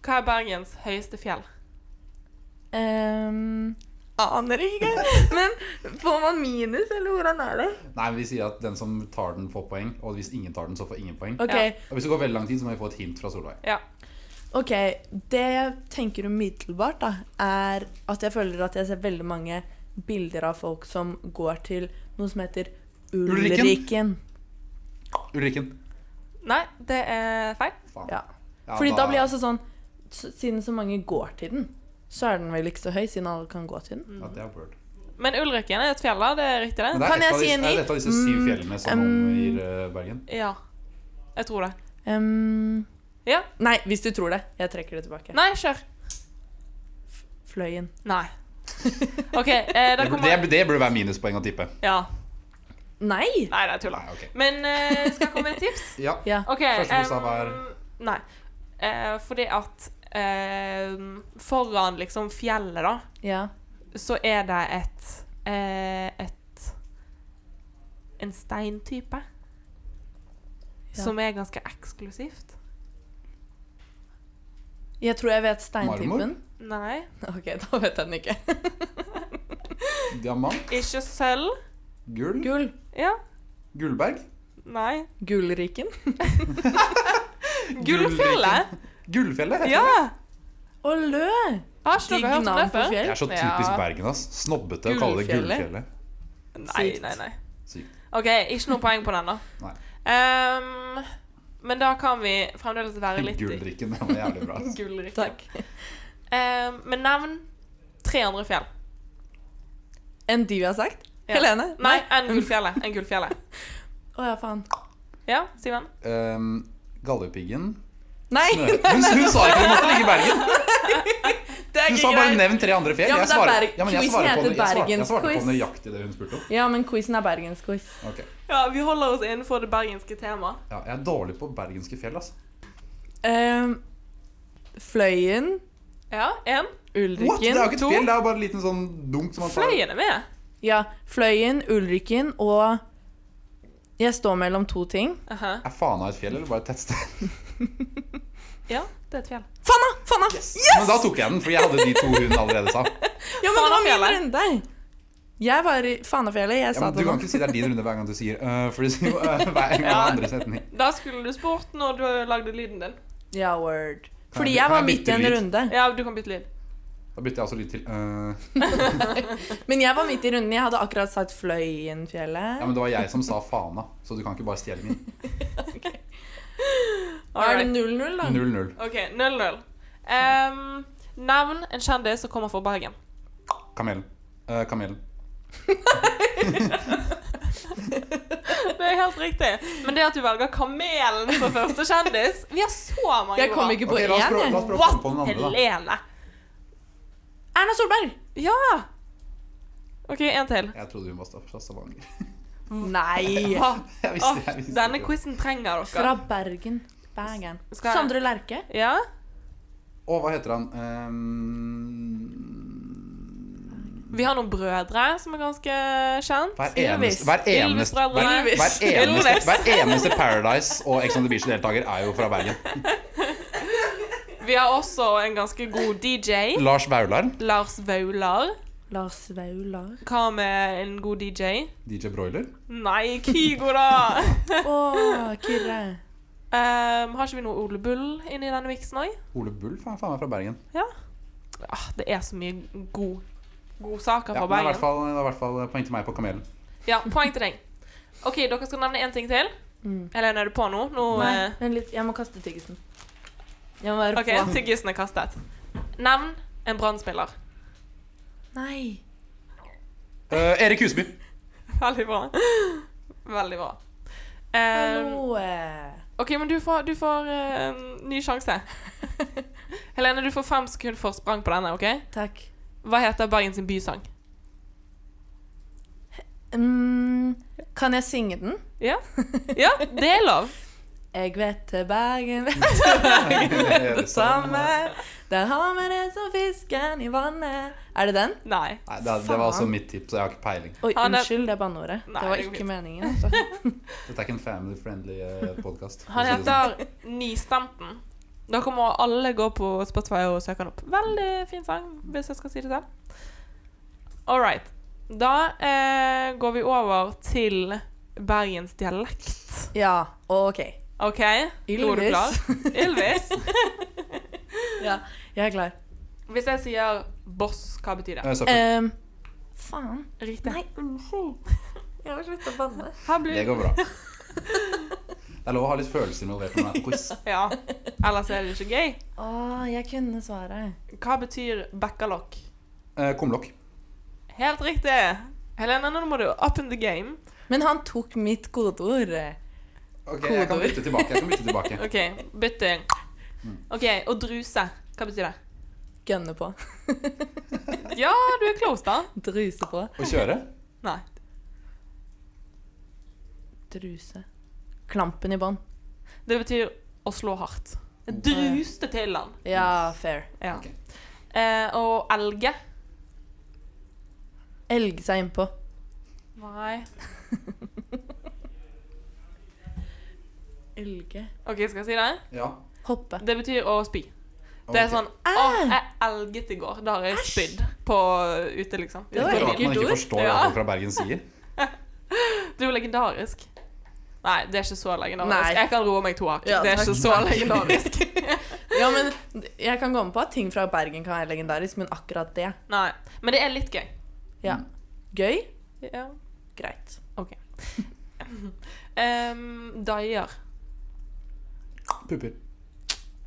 [SPEAKER 1] Hva er Bergens høyeste fjell?
[SPEAKER 2] Ehm, aner ikke. Men får man minus, eller hvordan er det?
[SPEAKER 3] Nei, men vi sier at den som tar den, får poeng, og hvis ingen tar den, så får ingen poeng.
[SPEAKER 2] Ok,
[SPEAKER 1] Ja.
[SPEAKER 3] Og hvis det går veldig lang tid, så må vi få et hint fra Solveig.
[SPEAKER 1] Ja.
[SPEAKER 2] ok. Det jeg tenker umiddelbart, da, er at jeg føler at jeg ser veldig mange bilder av folk som går til noe som heter
[SPEAKER 3] Ulriken.
[SPEAKER 2] Ulriken.
[SPEAKER 3] Ulrikken.
[SPEAKER 1] Nei, det er feil.
[SPEAKER 3] Faen.
[SPEAKER 2] Ja.
[SPEAKER 3] Ja,
[SPEAKER 2] Fordi da blir jeg altså sånn s- Siden så mange går til den, så er den vel ikke så høy, siden alle kan gå til den.
[SPEAKER 3] ja, det er word.
[SPEAKER 1] Men Ulriken er et fjell, da. Det er riktig,
[SPEAKER 3] Men
[SPEAKER 1] det?
[SPEAKER 3] det er
[SPEAKER 2] sånn, Kan
[SPEAKER 3] et
[SPEAKER 2] jeg
[SPEAKER 3] av
[SPEAKER 2] si
[SPEAKER 3] disse-
[SPEAKER 2] en
[SPEAKER 3] Er
[SPEAKER 2] ny?
[SPEAKER 3] det et av disse syv
[SPEAKER 2] Mm,
[SPEAKER 3] fjellene som noen
[SPEAKER 2] um,
[SPEAKER 3] gir eh, Bergen?
[SPEAKER 1] Ja. Jeg tror det.
[SPEAKER 2] Ehm,
[SPEAKER 1] Ja.
[SPEAKER 2] nei, hvis du tror det. Jeg trekker det tilbake.
[SPEAKER 1] Nei, kjør.
[SPEAKER 2] Fløyen.
[SPEAKER 1] Nei. OK, eh, da
[SPEAKER 3] Det burde,
[SPEAKER 1] kommer
[SPEAKER 3] det, det burde være minuspoeng å tippe.
[SPEAKER 1] Ja.
[SPEAKER 2] Nei!
[SPEAKER 1] Nei, det er tulla.
[SPEAKER 3] Nei, ok.
[SPEAKER 1] Men eh, skal jeg komme med et tips?
[SPEAKER 3] Ja.
[SPEAKER 2] Ja.
[SPEAKER 1] OK.
[SPEAKER 3] Første du sa var-
[SPEAKER 1] ehm, Nei. Eh, fordi at ehm, foran liksom fjellet, da,
[SPEAKER 2] ja.
[SPEAKER 1] så er det et eh, et en steintype.
[SPEAKER 2] Ja.
[SPEAKER 1] som er ganske eksklusivt.
[SPEAKER 2] Jeg tror jeg vet steintypen.
[SPEAKER 3] Marmor?
[SPEAKER 1] Nei.
[SPEAKER 2] Ok, da vet jeg den ikke.
[SPEAKER 3] Diamant?
[SPEAKER 1] Ikke sølv.
[SPEAKER 3] Gull?
[SPEAKER 2] Gull.
[SPEAKER 1] Ja.
[SPEAKER 3] Gullberg?
[SPEAKER 1] Nei.
[SPEAKER 2] Gullriken.
[SPEAKER 1] Gullfjellet.
[SPEAKER 3] Gullfjellet? heter
[SPEAKER 1] Ja!
[SPEAKER 3] det.
[SPEAKER 2] Og lø!
[SPEAKER 1] Har ikke
[SPEAKER 2] Digg
[SPEAKER 1] dere hørt om det
[SPEAKER 2] navn på
[SPEAKER 1] før?
[SPEAKER 2] fjell.
[SPEAKER 3] Det er så typisk Bergen, ass. Snobbete å kalle det
[SPEAKER 2] Gullfjellet.
[SPEAKER 3] Gullfjellet.
[SPEAKER 1] Nei,
[SPEAKER 2] Sykt.
[SPEAKER 1] nei, nei.
[SPEAKER 3] Sykt.
[SPEAKER 1] OK, ikke noe poeng på den, da.
[SPEAKER 3] Nei.
[SPEAKER 1] Ehm, men da kan vi fremdeles være litt i-
[SPEAKER 3] Gulldrikken, det var jævlig bra. ass.
[SPEAKER 1] Gullrikken.
[SPEAKER 2] Takk.
[SPEAKER 1] Ehm, men nevn 300 fjell.
[SPEAKER 2] Enn de vi har sagt?
[SPEAKER 1] Ja.
[SPEAKER 2] Helene?
[SPEAKER 1] Nei, enn Gullfjellet. En gullfjellet.
[SPEAKER 2] Å ja, faen.
[SPEAKER 1] Ja, Simen?
[SPEAKER 3] Ehm, Galdhøpiggen
[SPEAKER 2] Nei!
[SPEAKER 3] Snø- Hun, hun sa ikke det måtte ligge i Bergen!
[SPEAKER 2] Det er
[SPEAKER 3] Hun
[SPEAKER 2] ikke
[SPEAKER 3] sa bare
[SPEAKER 2] greit.
[SPEAKER 3] 'nevn tre andre fjell'.
[SPEAKER 2] Ja, men
[SPEAKER 3] Jeg
[SPEAKER 2] det er
[SPEAKER 3] svarer,
[SPEAKER 2] Berg-
[SPEAKER 3] ja, men jeg
[SPEAKER 2] quizen
[SPEAKER 3] svarer på
[SPEAKER 2] heter
[SPEAKER 3] det jeg svarer- jeg
[SPEAKER 2] Bergens
[SPEAKER 3] svarte på
[SPEAKER 2] quiz.
[SPEAKER 3] nøyaktig det hun spurte om.
[SPEAKER 2] Ja, men quizen er bergensquiz.
[SPEAKER 3] Ok.
[SPEAKER 1] Ja, vi holder oss innenfor det bergenske temaet.
[SPEAKER 3] Ja, jeg er dårlig på bergenske fjell, ass.
[SPEAKER 2] Um, fløyen.
[SPEAKER 1] Ja, én.
[SPEAKER 3] What? Det er
[SPEAKER 2] Ulriken.
[SPEAKER 3] jo ikke et
[SPEAKER 1] to.
[SPEAKER 3] fjell, det er jo bare en liten sånn dunk som man tar
[SPEAKER 1] Fløyen er med.
[SPEAKER 2] Ja, Fløyen, Ulriken og Jeg står mellom to ting.
[SPEAKER 1] Aha.
[SPEAKER 3] Er faen av et fjell, eller bare et tettsted?
[SPEAKER 1] Ja, det er et fjell.
[SPEAKER 2] Fanna! Fanna!
[SPEAKER 3] Men da tok jeg den, for jeg hadde de to hun allerede sa. Ja,
[SPEAKER 2] Ja, men det var min
[SPEAKER 1] Fanafjellet.
[SPEAKER 2] runde. Jeg var i Fanafjellet. Jeg sa
[SPEAKER 3] men du
[SPEAKER 2] det
[SPEAKER 3] kan
[SPEAKER 2] nå.
[SPEAKER 3] ikke si det er din runde hver gang du sier øh, for du sier jo øh, hver gang
[SPEAKER 1] Ja.
[SPEAKER 3] andre setning.
[SPEAKER 1] Da skulle du spurt når du lagde lyden din.
[SPEAKER 2] Ja, word.
[SPEAKER 3] Kan
[SPEAKER 2] Fordi
[SPEAKER 3] jeg-
[SPEAKER 2] jeg
[SPEAKER 3] kan
[SPEAKER 2] var
[SPEAKER 3] jeg
[SPEAKER 2] midt i
[SPEAKER 3] bytte
[SPEAKER 2] en
[SPEAKER 3] lyd?
[SPEAKER 2] runde.
[SPEAKER 1] Ja, du kan bytte lyd.
[SPEAKER 3] Da bytter jeg også lyd til øh.
[SPEAKER 2] Men jeg var midt i runden. Jeg hadde akkurat sagt
[SPEAKER 3] Ja,
[SPEAKER 2] Fløyenfjellet.
[SPEAKER 3] men det var jeg som sa fana, så du kan ikke bare stjele min.
[SPEAKER 2] Da er
[SPEAKER 1] Alright.
[SPEAKER 2] det 0-0, da.
[SPEAKER 3] 0-0.
[SPEAKER 1] OK, 0-0. Ehm, nevn en kjendis som kommer fra Bergen.
[SPEAKER 3] Kamelen. Øh, kamelen.
[SPEAKER 1] Det er helt riktig. Men det at du velger Kamelen som første kjendis Vi har så mange
[SPEAKER 2] Jeg kom
[SPEAKER 1] bra.
[SPEAKER 2] ikke på
[SPEAKER 3] Ok, la oss
[SPEAKER 2] én,
[SPEAKER 3] prøve, la
[SPEAKER 2] jeg.
[SPEAKER 3] oss prøve å
[SPEAKER 1] What?
[SPEAKER 3] komme på den andre, da.
[SPEAKER 1] Helene.
[SPEAKER 2] Erna Solberg!
[SPEAKER 1] Ja! OK, en til.
[SPEAKER 3] Jeg trodde hun var staff- fra Stavanger.
[SPEAKER 2] Nei!
[SPEAKER 1] Ah,
[SPEAKER 3] Jeg visste, jeg
[SPEAKER 1] ah,
[SPEAKER 3] visste
[SPEAKER 1] denne
[SPEAKER 3] ikke.
[SPEAKER 1] quizen trenger dere.
[SPEAKER 2] Fra Bergen. Bergen.
[SPEAKER 1] Skal jeg-
[SPEAKER 2] Sondre Lerche.
[SPEAKER 1] Ja?
[SPEAKER 3] Og hva heter han? Ehm,
[SPEAKER 1] Vi har noen brødre som er ganske kjent.
[SPEAKER 3] hver
[SPEAKER 2] Ylvis.
[SPEAKER 3] eneste, hver eneste, hver,
[SPEAKER 1] Ylvis-brødrene.
[SPEAKER 3] hver, eneste,
[SPEAKER 1] Ylvis.
[SPEAKER 3] hver eneste Paradise og Ex on the Beach-deltaker er jo fra Bergen.
[SPEAKER 1] Vi har også en ganske god DJ.
[SPEAKER 3] Lars Vaular,
[SPEAKER 1] Lars Vaular.
[SPEAKER 2] Lars Vaular.
[SPEAKER 1] Hva med en god DJ?
[SPEAKER 3] DJ Broiler.
[SPEAKER 1] Nei, Kygo, da!
[SPEAKER 2] Å, Kyrre.
[SPEAKER 1] Ehm, har ikke vi noe Ole Bull inni denne miksen òg?
[SPEAKER 3] Ole Bull faen, faen meg fra Bergen.
[SPEAKER 1] Ah, det er så mye god, god saker
[SPEAKER 3] Ja,
[SPEAKER 1] fra
[SPEAKER 3] men det er i hvert
[SPEAKER 1] Bergen.
[SPEAKER 3] fall, det er i hvert fall poeng til meg på Kamelen.
[SPEAKER 1] Ja, Poeng til deg. OK, dere skal nevne én ting til.
[SPEAKER 2] Mm.
[SPEAKER 1] Helene, er du på nå? nå
[SPEAKER 2] Nei,
[SPEAKER 1] eh,
[SPEAKER 2] vent litt. Jeg må kaste tyggisen. Jeg må være
[SPEAKER 1] OK,
[SPEAKER 2] på.
[SPEAKER 1] tyggisen er kastet. Nevn en brannspiller.
[SPEAKER 2] Nei.
[SPEAKER 3] Eh, Erik Husby.
[SPEAKER 1] Veldig bra. Veldig bra. Ehm,
[SPEAKER 2] Hallo. Eh,
[SPEAKER 1] OK, men du får, du får eh, en ny sjanse. Helene, du får fem sekunder forsprang på denne. ok?
[SPEAKER 2] Takk.
[SPEAKER 1] Hva heter Bergen sin bysang?
[SPEAKER 2] Mm, kan jeg synge den?
[SPEAKER 1] Ja, ja det er lov.
[SPEAKER 2] Jeg vet til Bergen, vet til det samme. Der har vi det som fisken i vannet. Er det den?
[SPEAKER 1] Nei.
[SPEAKER 3] Nei, det, det var altså mitt tips, og jeg har ikke peiling.
[SPEAKER 2] Oi,
[SPEAKER 1] Han er-
[SPEAKER 2] unnskyld, det er banneordet.
[SPEAKER 1] Nei,
[SPEAKER 2] Det var
[SPEAKER 1] det går
[SPEAKER 2] ikke
[SPEAKER 1] fint.
[SPEAKER 2] meningen. Altså.
[SPEAKER 3] Dette er ikke en family-friendly eh, podkast.
[SPEAKER 1] Han
[SPEAKER 3] sånn.
[SPEAKER 1] heter Nistemten. Dere må alle gå på Spotify og søke han opp. Veldig fin sang, hvis jeg skal si det selv. All right. Da eh, går vi over til Bergens dialekt.
[SPEAKER 2] Ja, OK.
[SPEAKER 1] OK? Nå er du
[SPEAKER 2] Ylvis.
[SPEAKER 1] klar? Ylvis.
[SPEAKER 2] Ja, jeg er klar.
[SPEAKER 1] Hvis jeg sier boss, hva betyr det?
[SPEAKER 3] Eh, søppel.
[SPEAKER 2] Ehm, faen.
[SPEAKER 1] Riktig.
[SPEAKER 2] Nei, unnskyld. Jeg har sluttet å banne.
[SPEAKER 1] Her
[SPEAKER 3] Det
[SPEAKER 1] blir
[SPEAKER 3] går bra. Det er lov å ha litt følelser involvert når man er på quiz.
[SPEAKER 1] Ja. Ellers er det ikke gøy.
[SPEAKER 2] Å, jeg kunne svaret.
[SPEAKER 1] Hva betyr bekkalokk?
[SPEAKER 3] Eh, kumlokk.
[SPEAKER 1] Helt riktig. Helene, nå må du up in the game.
[SPEAKER 2] Men han tok mitt kodeord. eh.
[SPEAKER 3] Ok, jeg kan bytte tilbake. Jeg kan bytte tilbake.
[SPEAKER 1] OK, bytte. OK, og druse. Hva betyr det?
[SPEAKER 2] Gønne på.
[SPEAKER 1] Ja, du er close, da.
[SPEAKER 2] Druse på.
[SPEAKER 3] Å kjøre?
[SPEAKER 1] Nei.
[SPEAKER 2] Druse. Klampen i bånn.
[SPEAKER 1] Det betyr å slå hardt. Druste til han.
[SPEAKER 2] Ja, fair.
[SPEAKER 1] Ja.
[SPEAKER 3] Ok.
[SPEAKER 1] Eh, og elge.
[SPEAKER 2] Elge seg innpå.
[SPEAKER 1] Nei.
[SPEAKER 2] Elge.
[SPEAKER 1] OK, skal jeg si det?
[SPEAKER 3] Ja.
[SPEAKER 2] Hoppe.
[SPEAKER 1] Det betyr å spy. Det er
[SPEAKER 3] Ok.
[SPEAKER 1] sånn
[SPEAKER 2] Ah!
[SPEAKER 1] Å, jeg elget i går. Da har jeg spydd på ute, liksom.
[SPEAKER 2] Det var
[SPEAKER 3] Det er
[SPEAKER 2] et
[SPEAKER 3] rart man
[SPEAKER 2] ekkelt
[SPEAKER 3] ikke
[SPEAKER 2] ord.
[SPEAKER 3] forstår hva
[SPEAKER 1] Ja.
[SPEAKER 3] folk fra Bergen sier.
[SPEAKER 1] Det er jo legendarisk. Nei, det er ikke så legendarisk.
[SPEAKER 2] Nei.
[SPEAKER 1] Jeg kan roe meg to hakk.
[SPEAKER 2] Ja,
[SPEAKER 1] det er
[SPEAKER 2] takk.
[SPEAKER 1] ikke så legendarisk.
[SPEAKER 2] Ja, men jeg kan komme på at ting fra Bergen kan være legendarisk, men akkurat det
[SPEAKER 1] Nei. Men det er litt gøy.
[SPEAKER 2] Ja. Gøy?
[SPEAKER 1] Ja.
[SPEAKER 2] Greit.
[SPEAKER 1] OK. Um, Daier.
[SPEAKER 3] Pupper.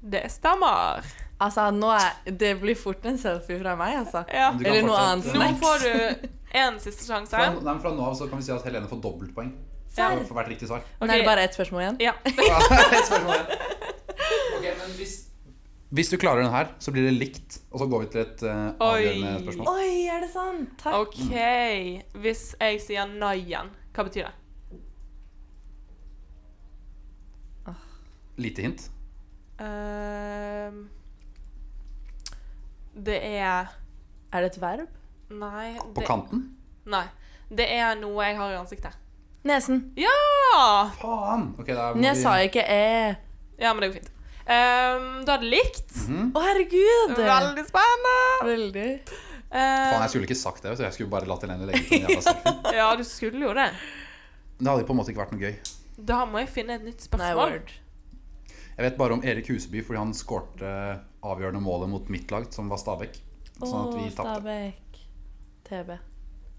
[SPEAKER 1] Det stemmer.
[SPEAKER 2] Altså, nå er Det blir fort en selfie fra meg, altså.
[SPEAKER 1] Ja.
[SPEAKER 3] Men du kan
[SPEAKER 2] Eller noe
[SPEAKER 3] fortsette.
[SPEAKER 2] annet
[SPEAKER 1] Nå
[SPEAKER 2] snacks.
[SPEAKER 1] får du én siste sjanse.
[SPEAKER 3] Fra, nei, men fra nå av så kan vi si at Helene får dobbeltpoeng
[SPEAKER 1] Ja.
[SPEAKER 3] for hvert riktig svar.
[SPEAKER 1] Ok.
[SPEAKER 2] Nå er det bare ett spørsmål igjen.
[SPEAKER 1] Ja.
[SPEAKER 3] Et spørsmål igjen. Ok, men hvis... Hvis du klarer den her, så blir det likt. Og så går vi til et eh, avgjørende
[SPEAKER 1] Oi.
[SPEAKER 3] spørsmål.
[SPEAKER 2] Oi, er det sant? Takk.
[SPEAKER 1] OK. Hvis jeg sier Naien, hva betyr det?
[SPEAKER 3] Lite hint.
[SPEAKER 1] Um, det er
[SPEAKER 2] Er det et verb?
[SPEAKER 1] Nei.
[SPEAKER 3] På
[SPEAKER 1] det,
[SPEAKER 3] kanten.
[SPEAKER 1] Nei. Det er noe jeg har i ansiktet.
[SPEAKER 2] Nesen.
[SPEAKER 1] Ja!
[SPEAKER 3] Faen! Ok, da må
[SPEAKER 2] Men jeg
[SPEAKER 3] vi-
[SPEAKER 2] sa ikke eh.
[SPEAKER 1] Ja, men det går fint. Um, du hadde likt.
[SPEAKER 3] Mhm.
[SPEAKER 2] Å, herregud!
[SPEAKER 1] Veldig spennende!
[SPEAKER 2] Veldig.
[SPEAKER 3] Faen, jeg
[SPEAKER 1] Um,
[SPEAKER 3] skulle ikke sagt det. Så jeg skulle bare latt Helene legge ut den jævla selfien.
[SPEAKER 1] Ehm, ja, du skulle jo det.
[SPEAKER 3] Det hadde på en måte ikke vært noe gøy.
[SPEAKER 1] Da må jeg finne et nytt
[SPEAKER 2] Nei,
[SPEAKER 1] spørsmål.
[SPEAKER 2] word.
[SPEAKER 3] Jeg vet bare om Erik Huseby fordi han skårte eh, avgjørende målet mot mitt lag, som var Stabæk. Sånn at
[SPEAKER 2] Å,
[SPEAKER 3] vi tapte.
[SPEAKER 2] Stabæk. TB.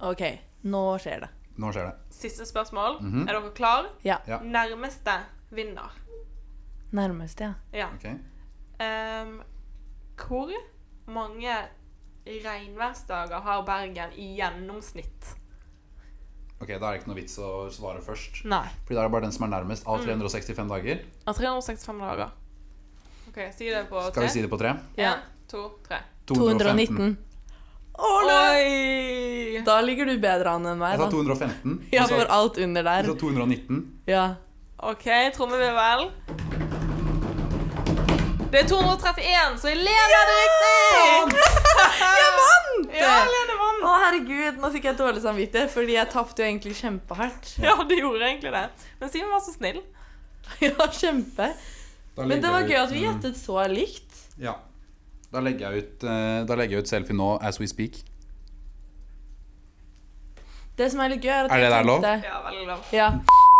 [SPEAKER 2] OK, nå skjer det.
[SPEAKER 3] Nå skjer det.
[SPEAKER 1] Siste spørsmål.
[SPEAKER 3] Mhm.
[SPEAKER 1] Er dere klar?
[SPEAKER 2] Ja.
[SPEAKER 3] Ja.
[SPEAKER 1] Nærmeste vinner.
[SPEAKER 2] Nærmeste, ja.
[SPEAKER 1] Ja.
[SPEAKER 3] Ok.
[SPEAKER 1] Um, hvor mange regnværsdager har Bergen i gjennomsnitt?
[SPEAKER 3] ok, da er det ikke noe vits å svare først.
[SPEAKER 1] Nei.
[SPEAKER 3] Fordi da er det bare den som er nærmest av 365 dager.
[SPEAKER 1] Av 365 dager. OK, si det på
[SPEAKER 3] Skal
[SPEAKER 1] tre.
[SPEAKER 3] vi si det på tre?
[SPEAKER 1] En, to, tre.
[SPEAKER 2] 219.
[SPEAKER 1] Oi!
[SPEAKER 2] Da ligger du bedre an enn meg,
[SPEAKER 3] Jeg sa
[SPEAKER 2] da.
[SPEAKER 3] 215.
[SPEAKER 2] Ja,
[SPEAKER 3] Jeg sa-
[SPEAKER 2] for alt under
[SPEAKER 3] jeg
[SPEAKER 2] der.
[SPEAKER 3] sa 219.
[SPEAKER 2] Ja.
[SPEAKER 1] OK, trommevirvel. Det er 231, så jeg leder det riktig!
[SPEAKER 2] Jeg vant!
[SPEAKER 1] Ja, Lene
[SPEAKER 2] Å,
[SPEAKER 1] vant.
[SPEAKER 2] herregud, nå fikk jeg dårlig samvittighet, fordi jeg tapte jo egentlig kjempehardt.
[SPEAKER 1] Ja, det gjorde egentlig det. Men Simen var så snill.
[SPEAKER 2] Ja, kjempe.
[SPEAKER 3] Da
[SPEAKER 2] Men
[SPEAKER 3] legger
[SPEAKER 2] det var
[SPEAKER 3] jeg
[SPEAKER 2] gøy
[SPEAKER 3] ut-
[SPEAKER 2] at vi gjettet så likt.
[SPEAKER 3] Ja. Da legger jeg ut, eh, da legger jeg ut selfie nå as we speak.
[SPEAKER 2] Det som er litt gøy, er at
[SPEAKER 3] Er det
[SPEAKER 2] jeg
[SPEAKER 3] der lov?
[SPEAKER 2] tenkte
[SPEAKER 1] Ja, veldig lov.
[SPEAKER 2] Ja.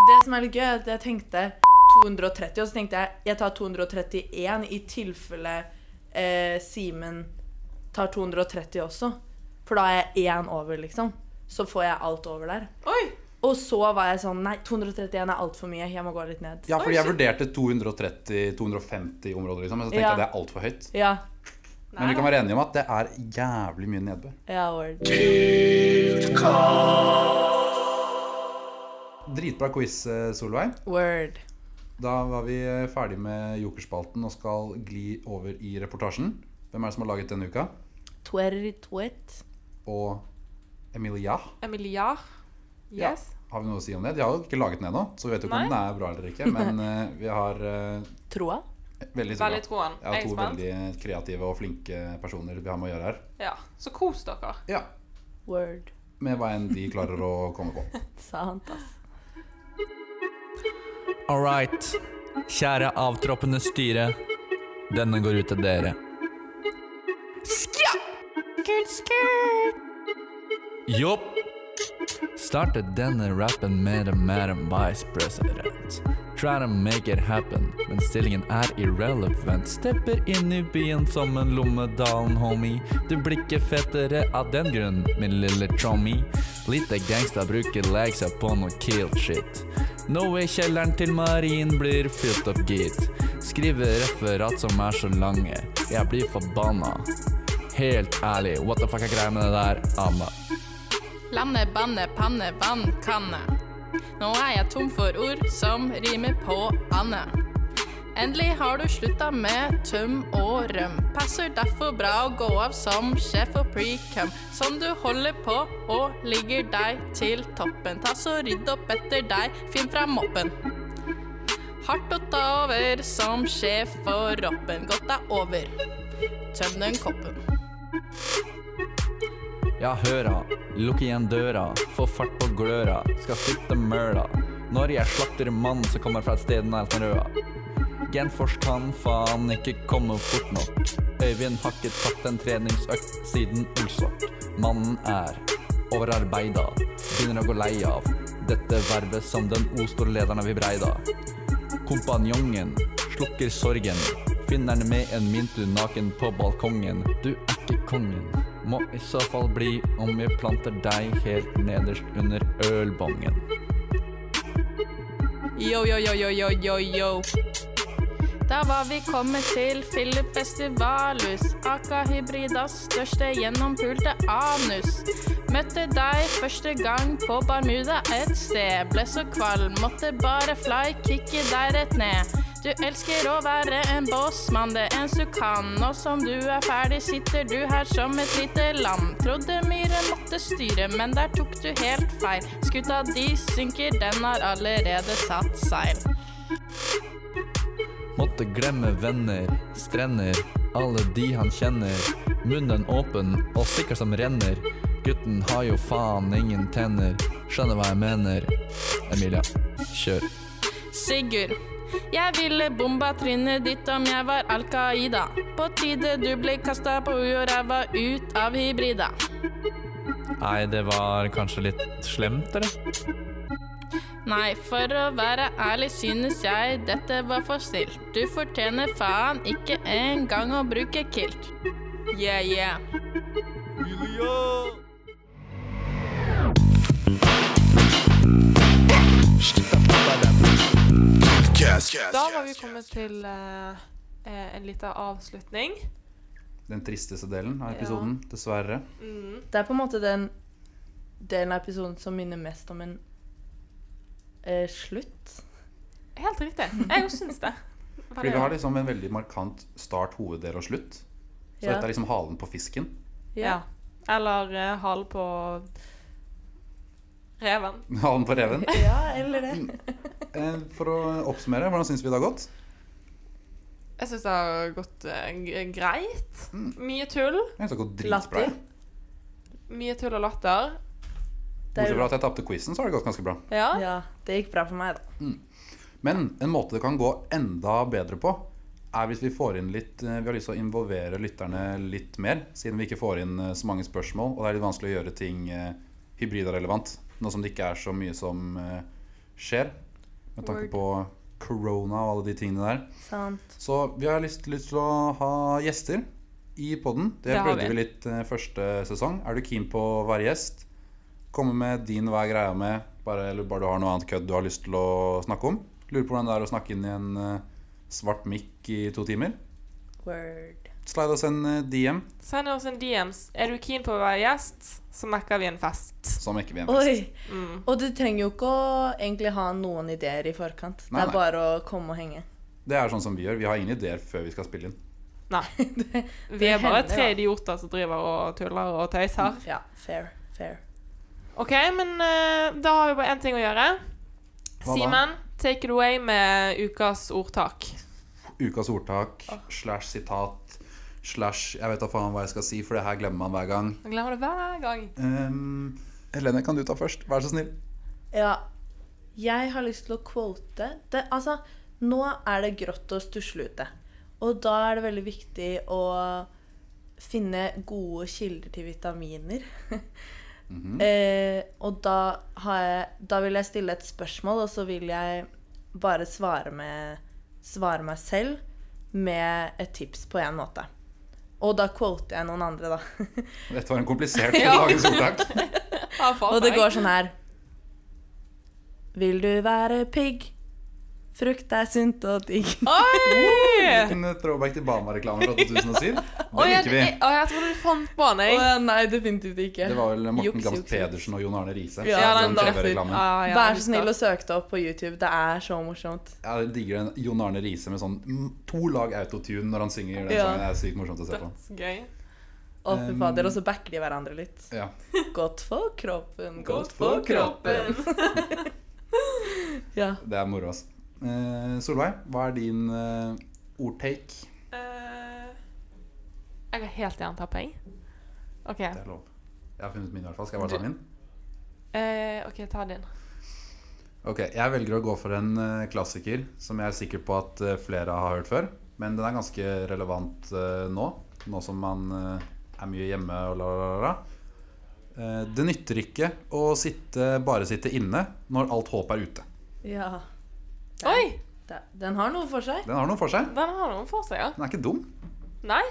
[SPEAKER 2] Det som er litt gøy, er at jeg tenkte 230, og så tenkte jeg jeg tar 231 i tilfelle eh, Simen tar 230 også. For da er jeg én over, liksom. Så får jeg alt over der.
[SPEAKER 1] Oi!
[SPEAKER 2] Og så var jeg sånn Nei, 231 er altfor mye. Jeg må gå litt ned.
[SPEAKER 3] Ja,
[SPEAKER 1] Oi,
[SPEAKER 3] fordi jeg vurderte 230-250 områder, liksom, men så tenkte
[SPEAKER 2] Ja.
[SPEAKER 3] jeg det er altfor høyt.
[SPEAKER 2] Ja.
[SPEAKER 3] Men vi kan være enige om at det er jævlig mye nedbør.
[SPEAKER 2] ja word.
[SPEAKER 3] Dritbra quiz, eh, Solveig.
[SPEAKER 2] word.
[SPEAKER 3] Da var vi eh, ferdig med jokerspalten og skal gli over i reportasjen. Hvem er det som har laget denne uka?
[SPEAKER 2] Twerry twit.
[SPEAKER 3] Og Emilia?
[SPEAKER 1] Emilia. Yes.
[SPEAKER 3] Har vi noe å si om det? De har jo ikke laget den ennå, så vi vet jo ikke
[SPEAKER 1] Nei.
[SPEAKER 3] om den er bra eller ikke. Men eh, vi har eh,
[SPEAKER 2] Troa.
[SPEAKER 3] veldig troa.
[SPEAKER 1] Veldig troen.
[SPEAKER 3] Jeg har
[SPEAKER 1] Jeg er
[SPEAKER 3] to
[SPEAKER 1] spent.
[SPEAKER 3] veldig kreative og flinke personer vi har med å gjøre her.
[SPEAKER 1] Ja. Så kos dere.
[SPEAKER 3] Ja,
[SPEAKER 2] Word.
[SPEAKER 3] Med hva enn de klarer å komme på.
[SPEAKER 2] Sant, ass.
[SPEAKER 5] All right. Kjære avtroppende styre. Denne går ut til dere. Jopp. Started denne rappen med en madam vice president. Try to make it happen, men stillingen er irrelevant. Stepper inn i byen som en lommedalen, homie. Du blir ikke fettere av den grunn, min lille trommy. Lite gangsta bruker legsa på noe kill shit. Nå er kjelleren til Marin blir fylt opp, gitt. Skriver referat som er så lange. Jeg blir forbanna. Helt ærlig, what the fuck er greia med det der, Anna?
[SPEAKER 6] Lande, banne, panne, vann, kanne. Nå er jeg tom for ord som rimer på anne. Endelig har du slutta med tøm og røm. Passer derfor bra å gå av som sjef og precum. Som du holder på og ligger deg til toppen. Ta så rydd opp etter deg, finn fram moppen. Hardt å ta over som sjef for roppen. Godt er over. Tøm den koppen.
[SPEAKER 5] Ja, høra, lukk igjen døra, få fart på gløra, skal flytte møla. Når jeg slakter en mann som kommer fra et sted nært Røa. Genfors kan faen ikke komme fort nok. Øyvind har ikke tatt en treningsøkt siden Olsok. Mannen er overarbeida, begynner å gå lei av dette vervet som den o-store lederen av Vibreida. Kompanjongen slukker sorgen. Finner den med en mintu naken på balkongen. Du er ikke kongen. Må i så fall bli om jeg planter deg helt nederst under ølbongen.
[SPEAKER 6] Yo, yo, yo, yo, yo, yo, yo. Da var vi kommet til Philip Festivalus, Aka Hybridas største gjennompulte anus. Møtte deg første gang på Barmuda et sted. Ble så kvalm, måtte bare fly, kicke deg rett ned. Du elsker å være en bossmann, det eneste du kan. Nå som du er ferdig, sitter du her som et lite lam. Trodde myren måtte styre, men der tok du helt feil. Skuta di synker, den har allerede satt seil.
[SPEAKER 5] Måtte glemme venner, strender, alle de han kjenner. Munnen åpen og sikker som renner. Gutten har jo faen ingen tenner. Skjønner hva jeg mener. Emilia, kjør.
[SPEAKER 6] Sigurd. Jeg ville bomba trynet ditt om jeg var Al Qaida. På tide du ble kasta på huet og ræva ut av hybrida.
[SPEAKER 5] Nei, det var kanskje litt slemt, eller?
[SPEAKER 6] Nei, for å være ærlig synes jeg dette var for snilt. Du fortjener faen ikke engang å bruke kilt. Yeah, yeah.
[SPEAKER 4] Podcast.
[SPEAKER 1] Da var vi kommet til eh, eh, en liten avslutning.
[SPEAKER 3] Den tristeste delen av episoden, dessverre.
[SPEAKER 2] Det er på en måte den delen av episoden som minner mest om en eh, slutt.
[SPEAKER 1] Helt riktig. Jeg jo syns det.
[SPEAKER 3] Fordi vi har liksom en veldig markant start, hoveddel og slutt. Så
[SPEAKER 2] Ja.
[SPEAKER 3] dette er liksom halen på fisken.
[SPEAKER 1] Ja. Eller eh, hal på reven.
[SPEAKER 3] Halen på reven.
[SPEAKER 2] ja, eller det.
[SPEAKER 3] Eh, For å oppsummere, hvordan syns vi det har gått?
[SPEAKER 1] Jeg syns det har gått eh, g- greit. Mye tull.
[SPEAKER 3] Jeg synes det har gått dritbra.
[SPEAKER 2] Latter.
[SPEAKER 3] jeg.
[SPEAKER 1] Mye tull og latter.
[SPEAKER 2] Det er
[SPEAKER 3] Bortsett
[SPEAKER 2] jo,
[SPEAKER 3] fra at jeg tapte quizen, så har det gått ganske bra.
[SPEAKER 1] Ja.
[SPEAKER 2] ja, det gikk bra for meg, da.
[SPEAKER 3] Men en måte det kan gå enda bedre på, er hvis vi får inn litt eh, Vi har lyst til å involvere lytterne litt mer, siden vi ikke får inn eh, så mange spørsmål. Og det er litt vanskelig å gjøre ting eh, hybrid og relevant, nå som det ikke er så mye som eh, skjer. Med tanke
[SPEAKER 1] Word.
[SPEAKER 3] på corona og alle de tingene der.
[SPEAKER 2] Sant.
[SPEAKER 3] Så vi har lyst, lyst til å ha gjester i podden. Det,
[SPEAKER 1] Det har
[SPEAKER 3] prøvde
[SPEAKER 1] vi.
[SPEAKER 3] vi litt eh, første sesong. Er du keen på å være gjest? Komme med din hva er greia med, bare, eller bare du har noe annet kødd du har lyst til å snakke om. Lurer på hvordan det er å snakke inn i en eh, svart mikk i to timer.
[SPEAKER 2] Word.
[SPEAKER 3] Slide oss en eh, DM,
[SPEAKER 1] Send oss en DMs. Er du keen på å være gjest, så mekker vi en fest.
[SPEAKER 3] som ikke vi eneste.
[SPEAKER 2] Oi.
[SPEAKER 3] Mm.
[SPEAKER 2] Og du trenger jo ikke å egentlig ha noen ideer i forkant.
[SPEAKER 3] Nei,
[SPEAKER 2] det
[SPEAKER 3] nei.
[SPEAKER 2] er bare å komme og henge.
[SPEAKER 3] Det er sånn som vi gjør. Vi har ingen ideer før vi skal spille inn.
[SPEAKER 1] Nei. Vi er bare tre idioter som driver og tuller og tøyser.
[SPEAKER 2] Ja, fair. Fair.
[SPEAKER 1] OK, men eh, da har vi bare én ting å gjøre.
[SPEAKER 3] da?
[SPEAKER 1] Simen, take it away med ukas ordtak.
[SPEAKER 3] Ukas ordtak slash sitat slash Jeg vet da faen hva jeg skal si, for det her glemmer man hver gang.
[SPEAKER 1] Jeg glemmer det hver gang.
[SPEAKER 3] Um, Helene, kan du ta først? Vær så snill.
[SPEAKER 2] Ja. Jeg har lyst til å quote det, Altså, nå er det grått og stusslig ute. Og da er det veldig viktig å finne gode kilder til vitaminer. eh, og da, har jeg, da vil jeg stille et spørsmål, og så vil jeg bare svare, med, svare meg selv med et tips på en måte. Og da quoter jeg noen andre, da.
[SPEAKER 3] Dette var en komplisert dagens ordtak.
[SPEAKER 1] Ja, faen
[SPEAKER 2] Og det
[SPEAKER 1] meg.
[SPEAKER 2] går sånn her Vil du være pigg? Frukt er sunt og digg.
[SPEAKER 1] sånn. Oi!
[SPEAKER 3] En eh, throwback til Bama-reklamen fra 2007.
[SPEAKER 1] Oi,
[SPEAKER 3] Det
[SPEAKER 1] jeg,
[SPEAKER 3] liker vi.
[SPEAKER 1] jeg, jeg trodde du fant på den. jeg.
[SPEAKER 2] Å, nei, definitivt ikke.
[SPEAKER 3] Det var vel Morten
[SPEAKER 2] Juks,
[SPEAKER 3] Gamst
[SPEAKER 2] juks, juks.
[SPEAKER 3] Pedersen og Jon Arne Riise.
[SPEAKER 2] Ja,
[SPEAKER 3] som
[SPEAKER 2] den
[SPEAKER 3] drev
[SPEAKER 2] dagen.
[SPEAKER 3] reklamen.
[SPEAKER 1] Ah, Ja, ja,
[SPEAKER 2] Vær
[SPEAKER 1] husker.
[SPEAKER 2] så snill og søk det opp på YouTube. Det er så morsomt.
[SPEAKER 3] Jeg digger den Jon Arne Riise med sånn mm, to lag autotune når han synger den
[SPEAKER 2] Ja.
[SPEAKER 3] sangen. Det er sykt morsomt å se på.
[SPEAKER 1] Dødsgøy.
[SPEAKER 2] Å, fy
[SPEAKER 3] Um,
[SPEAKER 2] fader. Og så backer de hverandre litt.
[SPEAKER 3] Ja.
[SPEAKER 2] Godt for kroppen,
[SPEAKER 3] Godt for kroppen.
[SPEAKER 2] Ja.
[SPEAKER 3] Det er moro, ass. Eh, Solveig, hva er din eh, ordtake?
[SPEAKER 1] Eh, jeg har helt jerntappe, jeg. OK,
[SPEAKER 3] Det er lov. Jeg har funnet min, i hvert fall. Skal jeg bare ta min?
[SPEAKER 1] eh, ok, ta din.
[SPEAKER 3] Ok, Jeg velger å gå for en eh, klassiker som jeg er sikker på at eh, flere har hørt før. Men den er ganske relevant eh, nå, nå som man eh, er mye hjemme og la, la, la, la. Eh, Det nytter ikke å sitte, bare sitte inne når alt håp er ute.
[SPEAKER 2] Ja.
[SPEAKER 1] Oi!
[SPEAKER 2] Da- Den har noe for seg.
[SPEAKER 3] Den har noe for seg.
[SPEAKER 1] Den har noen for seg, ja.
[SPEAKER 3] Den er ikke dum.
[SPEAKER 1] Nei?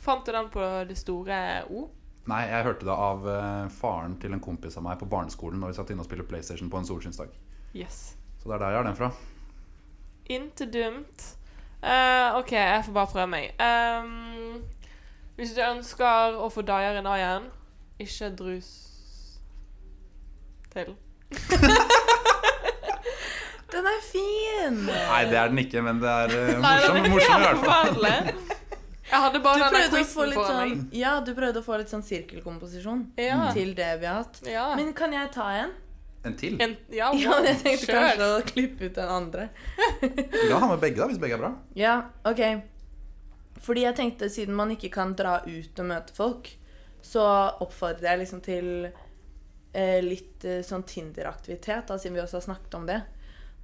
[SPEAKER 1] Fant du den på det store O?
[SPEAKER 3] Nei, jeg hørte det av eh, faren til en kompis av meg på barneskolen når vi satt inne og spilte PlayStation på en solskinnsdag.
[SPEAKER 1] Yes.
[SPEAKER 3] Så det er der jeg har den fra.
[SPEAKER 1] Inte dumt. Eh, OK, jeg får bare prøve meg. Ehm, hvis du ønsker å få daier i daien, ikke drus til.
[SPEAKER 2] Den er fin!
[SPEAKER 3] Nei, det er den ikke, men det er eh,
[SPEAKER 1] Nei, den er
[SPEAKER 3] morsom, morsom i
[SPEAKER 1] helt
[SPEAKER 3] hvert fall.
[SPEAKER 1] forferdelig. Jeg hadde
[SPEAKER 2] Du
[SPEAKER 1] bare den
[SPEAKER 2] prøvde, å få
[SPEAKER 1] quizen
[SPEAKER 2] litt
[SPEAKER 1] foran
[SPEAKER 2] sånn,
[SPEAKER 1] meg.
[SPEAKER 2] ja, du prøvde å få litt sånn sirkelkomposisjon
[SPEAKER 1] Ja.
[SPEAKER 2] til det vi har hatt.
[SPEAKER 1] Ja.
[SPEAKER 2] Men kan jeg ta en?
[SPEAKER 3] En til?
[SPEAKER 1] En, ja,
[SPEAKER 2] Ja, jeg tenkte
[SPEAKER 1] kjør.
[SPEAKER 2] kanskje å klippe ut den andre.
[SPEAKER 3] Du kan ha med begge, da, hvis begge er bra.
[SPEAKER 2] Ja, ok. Fordi jeg tenkte, siden man ikke kan dra ut og møte folk, så oppfordrer jeg liksom til eh, litt eh, sånn Tinder-aktivitet, da, siden vi også har snakket om det.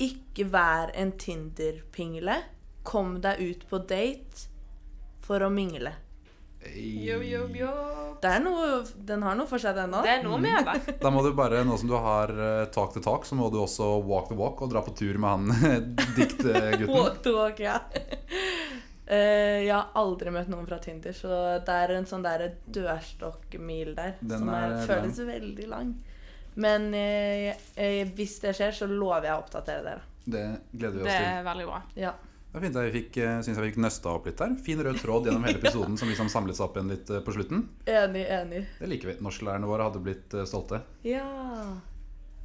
[SPEAKER 2] Ikke vær en Tinder-pingle. Kom deg ut på date for å mingle.
[SPEAKER 1] Yo, yo, yo.
[SPEAKER 2] Det er noe, den har noe for seg, den òg.
[SPEAKER 1] Det er noe med det.
[SPEAKER 3] Da må du bare, nå som du har eh, talk to talk, så må du også walk the walk og dra på tur med han diktgutten.
[SPEAKER 2] Walk to walk, ja. Eh, jeg har aldri møtt noen fra Tinder, så det er en sånn der dørstokkmil der
[SPEAKER 3] Den
[SPEAKER 2] som er,
[SPEAKER 3] er
[SPEAKER 2] føles veldig lang. Men eh, eh, hvis det skjer, så lover jeg å oppdatere dere.
[SPEAKER 3] Det gleder vi
[SPEAKER 1] Det
[SPEAKER 3] oss til.
[SPEAKER 1] er veldig bra.
[SPEAKER 2] Ja.
[SPEAKER 3] Det er fint at vi fikk, eh, synes jeg vi fikk nøsta opp litt her. Fin rød tråd gjennom hele episoden som liksom samlet seg opp igjen litt eh, på slutten.
[SPEAKER 2] Enig, enig.
[SPEAKER 3] Det liker vi. Norsklærerne våre hadde blitt eh, stolte.
[SPEAKER 2] Ja.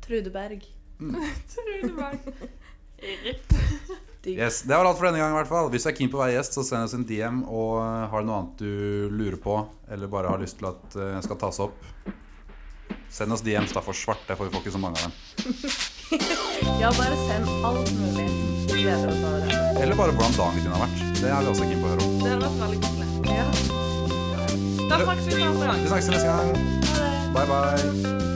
[SPEAKER 2] Trude Berg. Digg.
[SPEAKER 3] Yes, Det var alt for denne gang. i hvert fall Hvis du er keen på å være gjest, så send oss en DM. Og eh, har du noe annet du lurer på, eller bare har lyst til at eh, skal tas opp, send oss DMs, da, for svart. Der får vi får ikke så mange av dem.
[SPEAKER 2] Ja, bare send alt mulig. Vi Gleder oss over det.
[SPEAKER 3] Eller bare hvordan dagen din har vært. Det er vi også keen på å høre om.
[SPEAKER 1] Det hadde vært veldig koselig.
[SPEAKER 2] Ja.
[SPEAKER 1] Da snakkes vi neste gang.
[SPEAKER 3] Vi snakkes neste gang. Bye, bye.